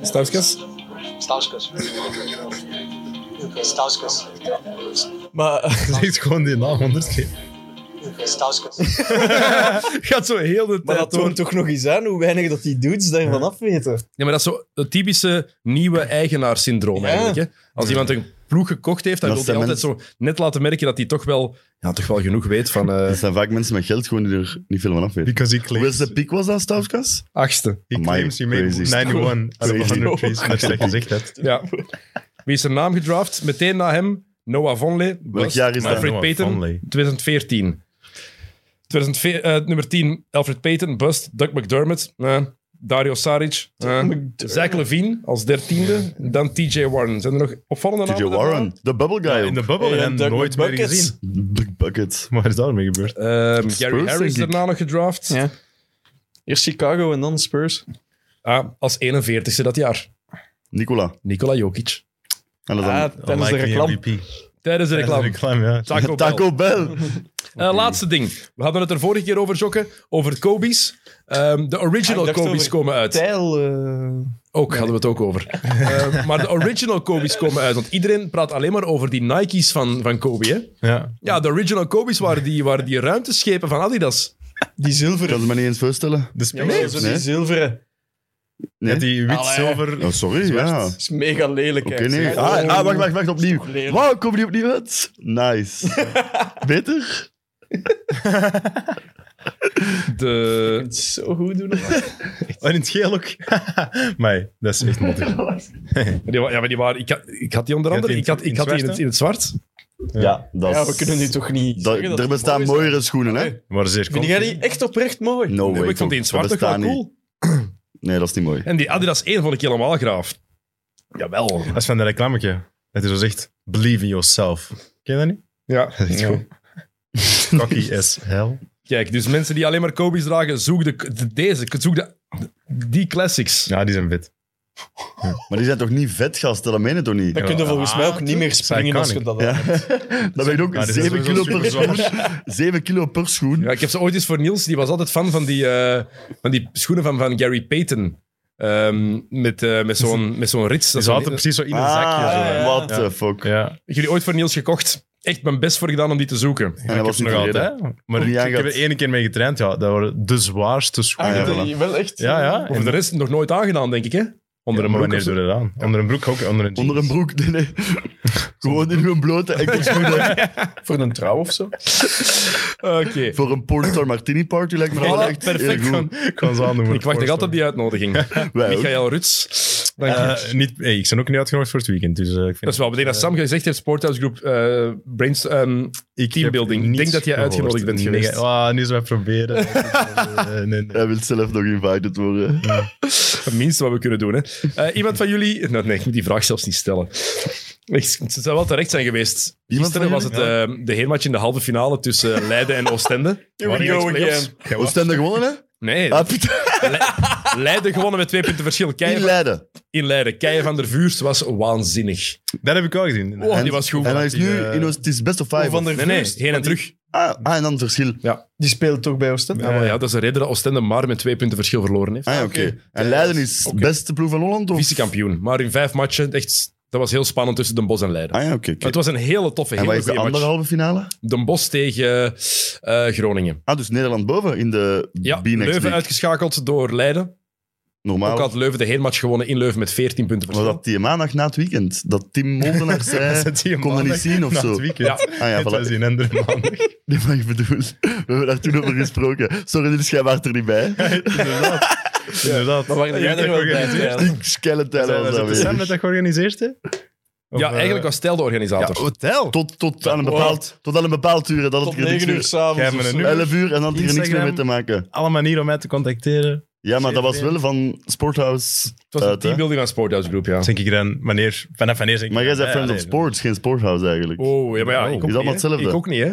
Stauskas? Stauskas. Okay, Stauskas. Maar eh, zegt gewoon die naam honderd keer. Okay, Stauskas. Gaat zo heel de maar tijd dat door. toont toch nog eens aan hoe weinig dat die dudes daarvan afweten. Ja, maar dat is zo het typische nieuwe eigenaarsyndroom Ja. eigenlijk. Hè? Als iemand een ploeg gekocht heeft, dan Dat wil hij zijn altijd zo net laten merken dat hij toch wel, ja, toch wel genoeg weet van eh Dat zijn vaak mensen met geld gewoon die er niet veel van af weten. Because he Where's claims, the pick was dat, Stauskas? achtste. he, claims he made Crazy. 91 out of Crazy. 100 trees. Dat je dat gezegd hebt. Ja. Wie is zijn naam gedraft? Meteen na hem, Noah Vonleh. Bust. jaar is dat? Alfred Noah Payton, Vonleh. 2014. 2004, eh, nummer 10, Alfred Payton, Bust, Doug McDermott, eh, Dario Saric, eh, Zach Levine als dertiende, dan TJ Warren. Zijn er nog opvallende TJ namen? Warren. De bubble guy. In de bubble Hey, en Dirk nooit meer Buckets. gezien. Big bucket. Wat is daarmee gebeurd? daarna? Ehm, Gary Spurs, Harris denk ik. daarna nog gedraft. Ja. Eerst Chicago en dan Spurs. Ah, als 41ste dat jaar. Nicola. Nikola Jokic. En dat Ah, dan tijdens de Unlikely reclame. MVP. Tijdens de Tijdens de reclame. reclame, ja. Taco Bell. Taco Bell. Eh, laatste ding. We hadden het er vorige keer over, Jokke. Over Kobe's. Ehm, de original Ah, ik dacht Kobe's over- komen uit. Tijl. eh, Ook hadden we het ook over. Eh, maar de original Kobe's komen uit. Want iedereen praat alleen maar over die Nike's van, van Kobe. Hè? Ja. Ja, de original Kobe's waren die, waren die ruimteschepen van Adidas. die zilveren. Kan ze me niet eens voorstellen? De Ja, spelers. maar zo die Nee. zilveren. Nee. Met die wit, Allee. zilver... Oh, sorry, ja. Oké, Dat is mega lelijk. hè. nee. Zeg, Ah, oh. ah, wacht, wacht, wacht, opnieuw. Lelijk. Wauw, komen die opnieuw uit? Nice. Beter? De, Het is Zo goed doen. En Oh, in het geel ook. maar dat is echt mottig. maar die wa- ja, maar die waren, ik, had, ik had die onder Je andere. had die in Ik had, het- ik had die in in het, het in het zwart. Ja, dat Ja, is- we kunnen nu toch niet. dat- zeggen dat er het bestaan mooi is, hè? mooiere schoenen, hè? Maar zeer Vind kort. jij die echt oprecht mooi? No way. ik vond die in het zwart Oh, dat toch wel bestaat niet. cool. Nee, dat is niet mooi. En die Adidas 1 vond ik helemaal graaf. Jawel. Dat is van dat reclametje. Dat is zo zegt, believe in yourself. Ken je dat niet? Ja. Dat is echt goed. Cocky as hell. Kijk, dus mensen die alleen maar Kobe's dragen, zoek de, de- deze, zoek de, die classics. Ja, die zijn wit. Maar die zijn toch niet vet, gasten? Dat meen je toch niet? Dan kun je Ja, volgens mij ook niet meer springen als je iconic. dat Ja. Dat ben je ook Ja, die zijn 7 kilo sowieso per superzwaar. schoen. 7 kilo per schoen. Ja, ik heb ze ooit eens voor Niels, die was altijd fan van die, eh, van die schoenen van, van Gary Payton. Ehm, met eh, met zo'n met zo'n rits. Die Dat is zaten een- precies zo in een zakje. Ah, zo, hè. ja. what Ja. the fuck. Ja. Heb jullie ooit voor Niels gekocht? Echt mijn best voor gedaan om die te zoeken. En dat was Ik niet heb nog tevreden. altijd. Maar Of ik, niet ik heb er aangehaald. één keer mee getraind. Ja, dat waren de zwaarste schoenen. Ah, ja, ja, voilà. Wel echt. ja, Of voor de rest nog nooit aangedaan, denk ik, hè? Onder een maar broek. wanneer of zo. doe je dat aan? Onder een broek ook, onder een Onder een jeans. broek. Nee, nee. Gewoon in hun blote enkelschoenen. Voor een trouw of zo. Oké. Voor een Pornstar Martini party lijkt me Voilà, dat echt perfect. heel goed. Ik kan ze aandoen. Ik wacht nog altijd op die uitnodiging. Wij ook. Michael Ruts. Dank je. Eh, niet, hey, ik ben ook niet uitgenodigd voor het weekend. Dus, eh, ik vind Dat is wel meteen dat Sam gezegd heeft, Sporthouse Group eh brainst- ehm, Ik Teambuilding. heb niets Denk dat jij gehoord. uitgenodigd bent Nee, geweest. Ah, nu zou ik proberen. Eh, nee, nee. Hij wil zelf nog invited worden. het minste wat we kunnen doen. Hè. Eh, iemand van jullie... Nou, nee, ik moet die vraag zelfs niet stellen. Echt, Ze zou wel terecht zijn geweest. Iemand van Gisteren was het jullie? eh, de heenmatch in de halve finale tussen eh, Leiden en Oostende. Here we go again. We staan er gewonnen, hè? Nee, Ah, Piet- Le- Leiden gewonnen met twee punten verschil. In Keijer Leiden. in Leiden. Keijer van der Vuurst was waanzinnig. Dat heb ik wel gezien. Oh, die was goed. En hij is nu Die, eh, in ons... Het is best of Hoe five. van of- der Nee, nee, Vuurst, heen en terug. Ah, ah, en dan verschil. Die speelt toch bij Oostende? Ja, maar ja, dat is de reden dat Oostende maar met twee punten verschil verloren heeft. Ah, ja, oké. En Leiden is beste ploeg van Holland, of? Vice-kampioen. Maar in vijf matchen, echt, dat was heel spannend tussen Den Bos en Leiden. Ah ja, oké. oké. Maar het was een hele toffe, En wat hele is de goede andere match. halve finale? Den Bos tegen eh, Groningen. Ah, dus Nederland boven in de Ja, B next Leuven League. uitgeschakeld door Leiden. Normaal Ook had Leuven de heenmatch gewonnen in Leuven met 14 punten was verschil. dat die maandag na het weekend. Dat Tim Moldenaar zei, Zet die Eh, kon dat maandag niet zien of na zo. Het Ah weekend. Ja. ja, Dit was voilà. die andere maandag. Nee, maar ik bedoel, we hebben daar toen over gesproken. Sorry, dit is jij waard er niet bij. Inderdaad. Inderdaad. Maar waren jij Jij er hebt wel dat bij? georganiseerd. Tijl? Ik skeletal was Zijn we aanwezig. dat georganiseerd? hè? Of, ja, eh, eigenlijk was Stijl de organisator. Ja, hotel. Tot, tot, aan een bepaald, tot aan een bepaald uur. en Dan had Tot ik er niks 9 uur meer. s'avonds. Jij of hebt me zo. een uur. 11 uur en dan had ik er niks meer Instagram. mee te maken. Alle manieren om mij te contacteren. Ja, maar dat was Zeven. wel van Sporthouse. Het was een uit, hè. teambuilding van Sporthouse Group, ja. Denk ik dan, wanneer, vanaf wanneer zeg ik... Maar jij zei Ja, Friends of nee, Sports, geen Sporthouse eigenlijk. Oh, ja, maar ja, ik Is ook, dat maar niet, hè. hetzelfde? ik ook niet, hè.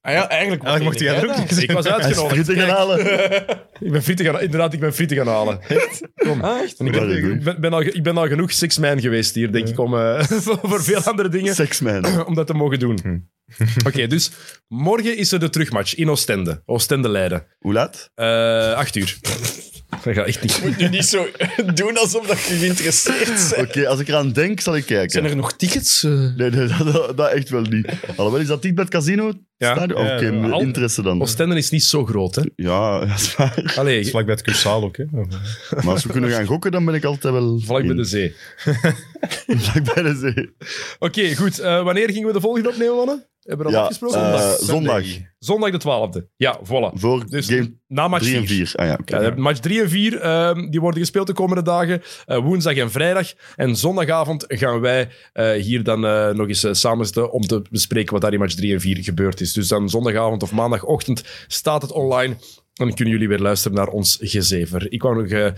Ah ja, eigenlijk Eigenlijk mocht jij er ook niet Ik was uitgenodigd. Frieten gaan halen. Ik ben frieten gaan, inderdaad, ik ben frieten gaan halen. Ah, echt? Ik Ja, dat is ben, goed. ik ben- ben al, ge- ik ben al genoeg six-man geweest hier, denk ik, om, eh, voor veel andere dingen, Sexman. om dat te mogen doen. Oké, dus morgen is er de terugmatch in Oostende. Oostende-Leiden. Hoe laat? Eh acht uur. Dat gaat echt niet. Nu niet zo doen alsof dat je geïnteresseerd bent. Oké, als ik eraan denk, zal ik kijken. Zijn er nog tickets? eh? Nee, nee dat, dat- dat echt wel niet. Alhoewel, is dat niet bij het casino? Ja. Stadion? Oké, Ja, ja. Al- interesse dan. Oostende is niet zo groot, hè. Ja, dat is waar. Allee, Vlak bij het Cursaal ook, hè. Maar als we kunnen gaan gokken, dan ben ik altijd wel... vlak bij in. de zee. Vlak bij de zee. Oké, goed. Eh, wanneer gingen we de volgende opnemen, mannen? Hebben we dat Ja, afgesproken? eh, Zondag. zondag. Zondag de 12e. Ja, voilà. Voor Dus game na match 3 en 4. 4. Ah ja, oké. Ja, match 3 en 4 ehm, die worden gespeeld de komende dagen, eh, woensdag en vrijdag. En zondagavond gaan wij eh, hier dan eh, nog eens eh, samen zitten om te bespreken wat daar in match 3 en 4 gebeurd is. Dus dan zondagavond of maandagochtend staat het online. En kunnen jullie weer luisteren naar ons gezever. Ik wou nog eh,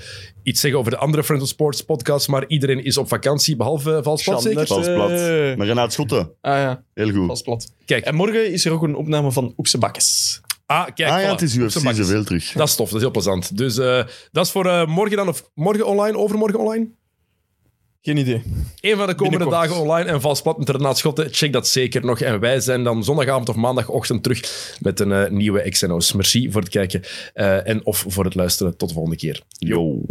iets zeggen over de andere Friends of Sports podcast, maar iedereen is op vakantie, behalve eh, Vals Plat, zeker? Sander. Vals plat. Eh. Maar Renaat Schotten, Ah ja, heel goed. pas plat. Kijk. En morgen is er ook een opname van Oekse Bakkes. Ah, kijk, ah ja, voilà. het is Op UFC zijn bakjes. zoveel terug. Dat is tof, dat is heel plezant. Dus eh, dat is voor eh, morgen dan, of morgen online, overmorgen online? Geen idee. Een van de komende Binnenkort. dagen online en vast plat met Renaat Schotten. Check dat zeker nog. En wij zijn dan zondagavond of maandagochtend terug met een eh, nieuwe XNO's. Merci voor het kijken eh, en of voor het luisteren. Tot de volgende keer. Yo.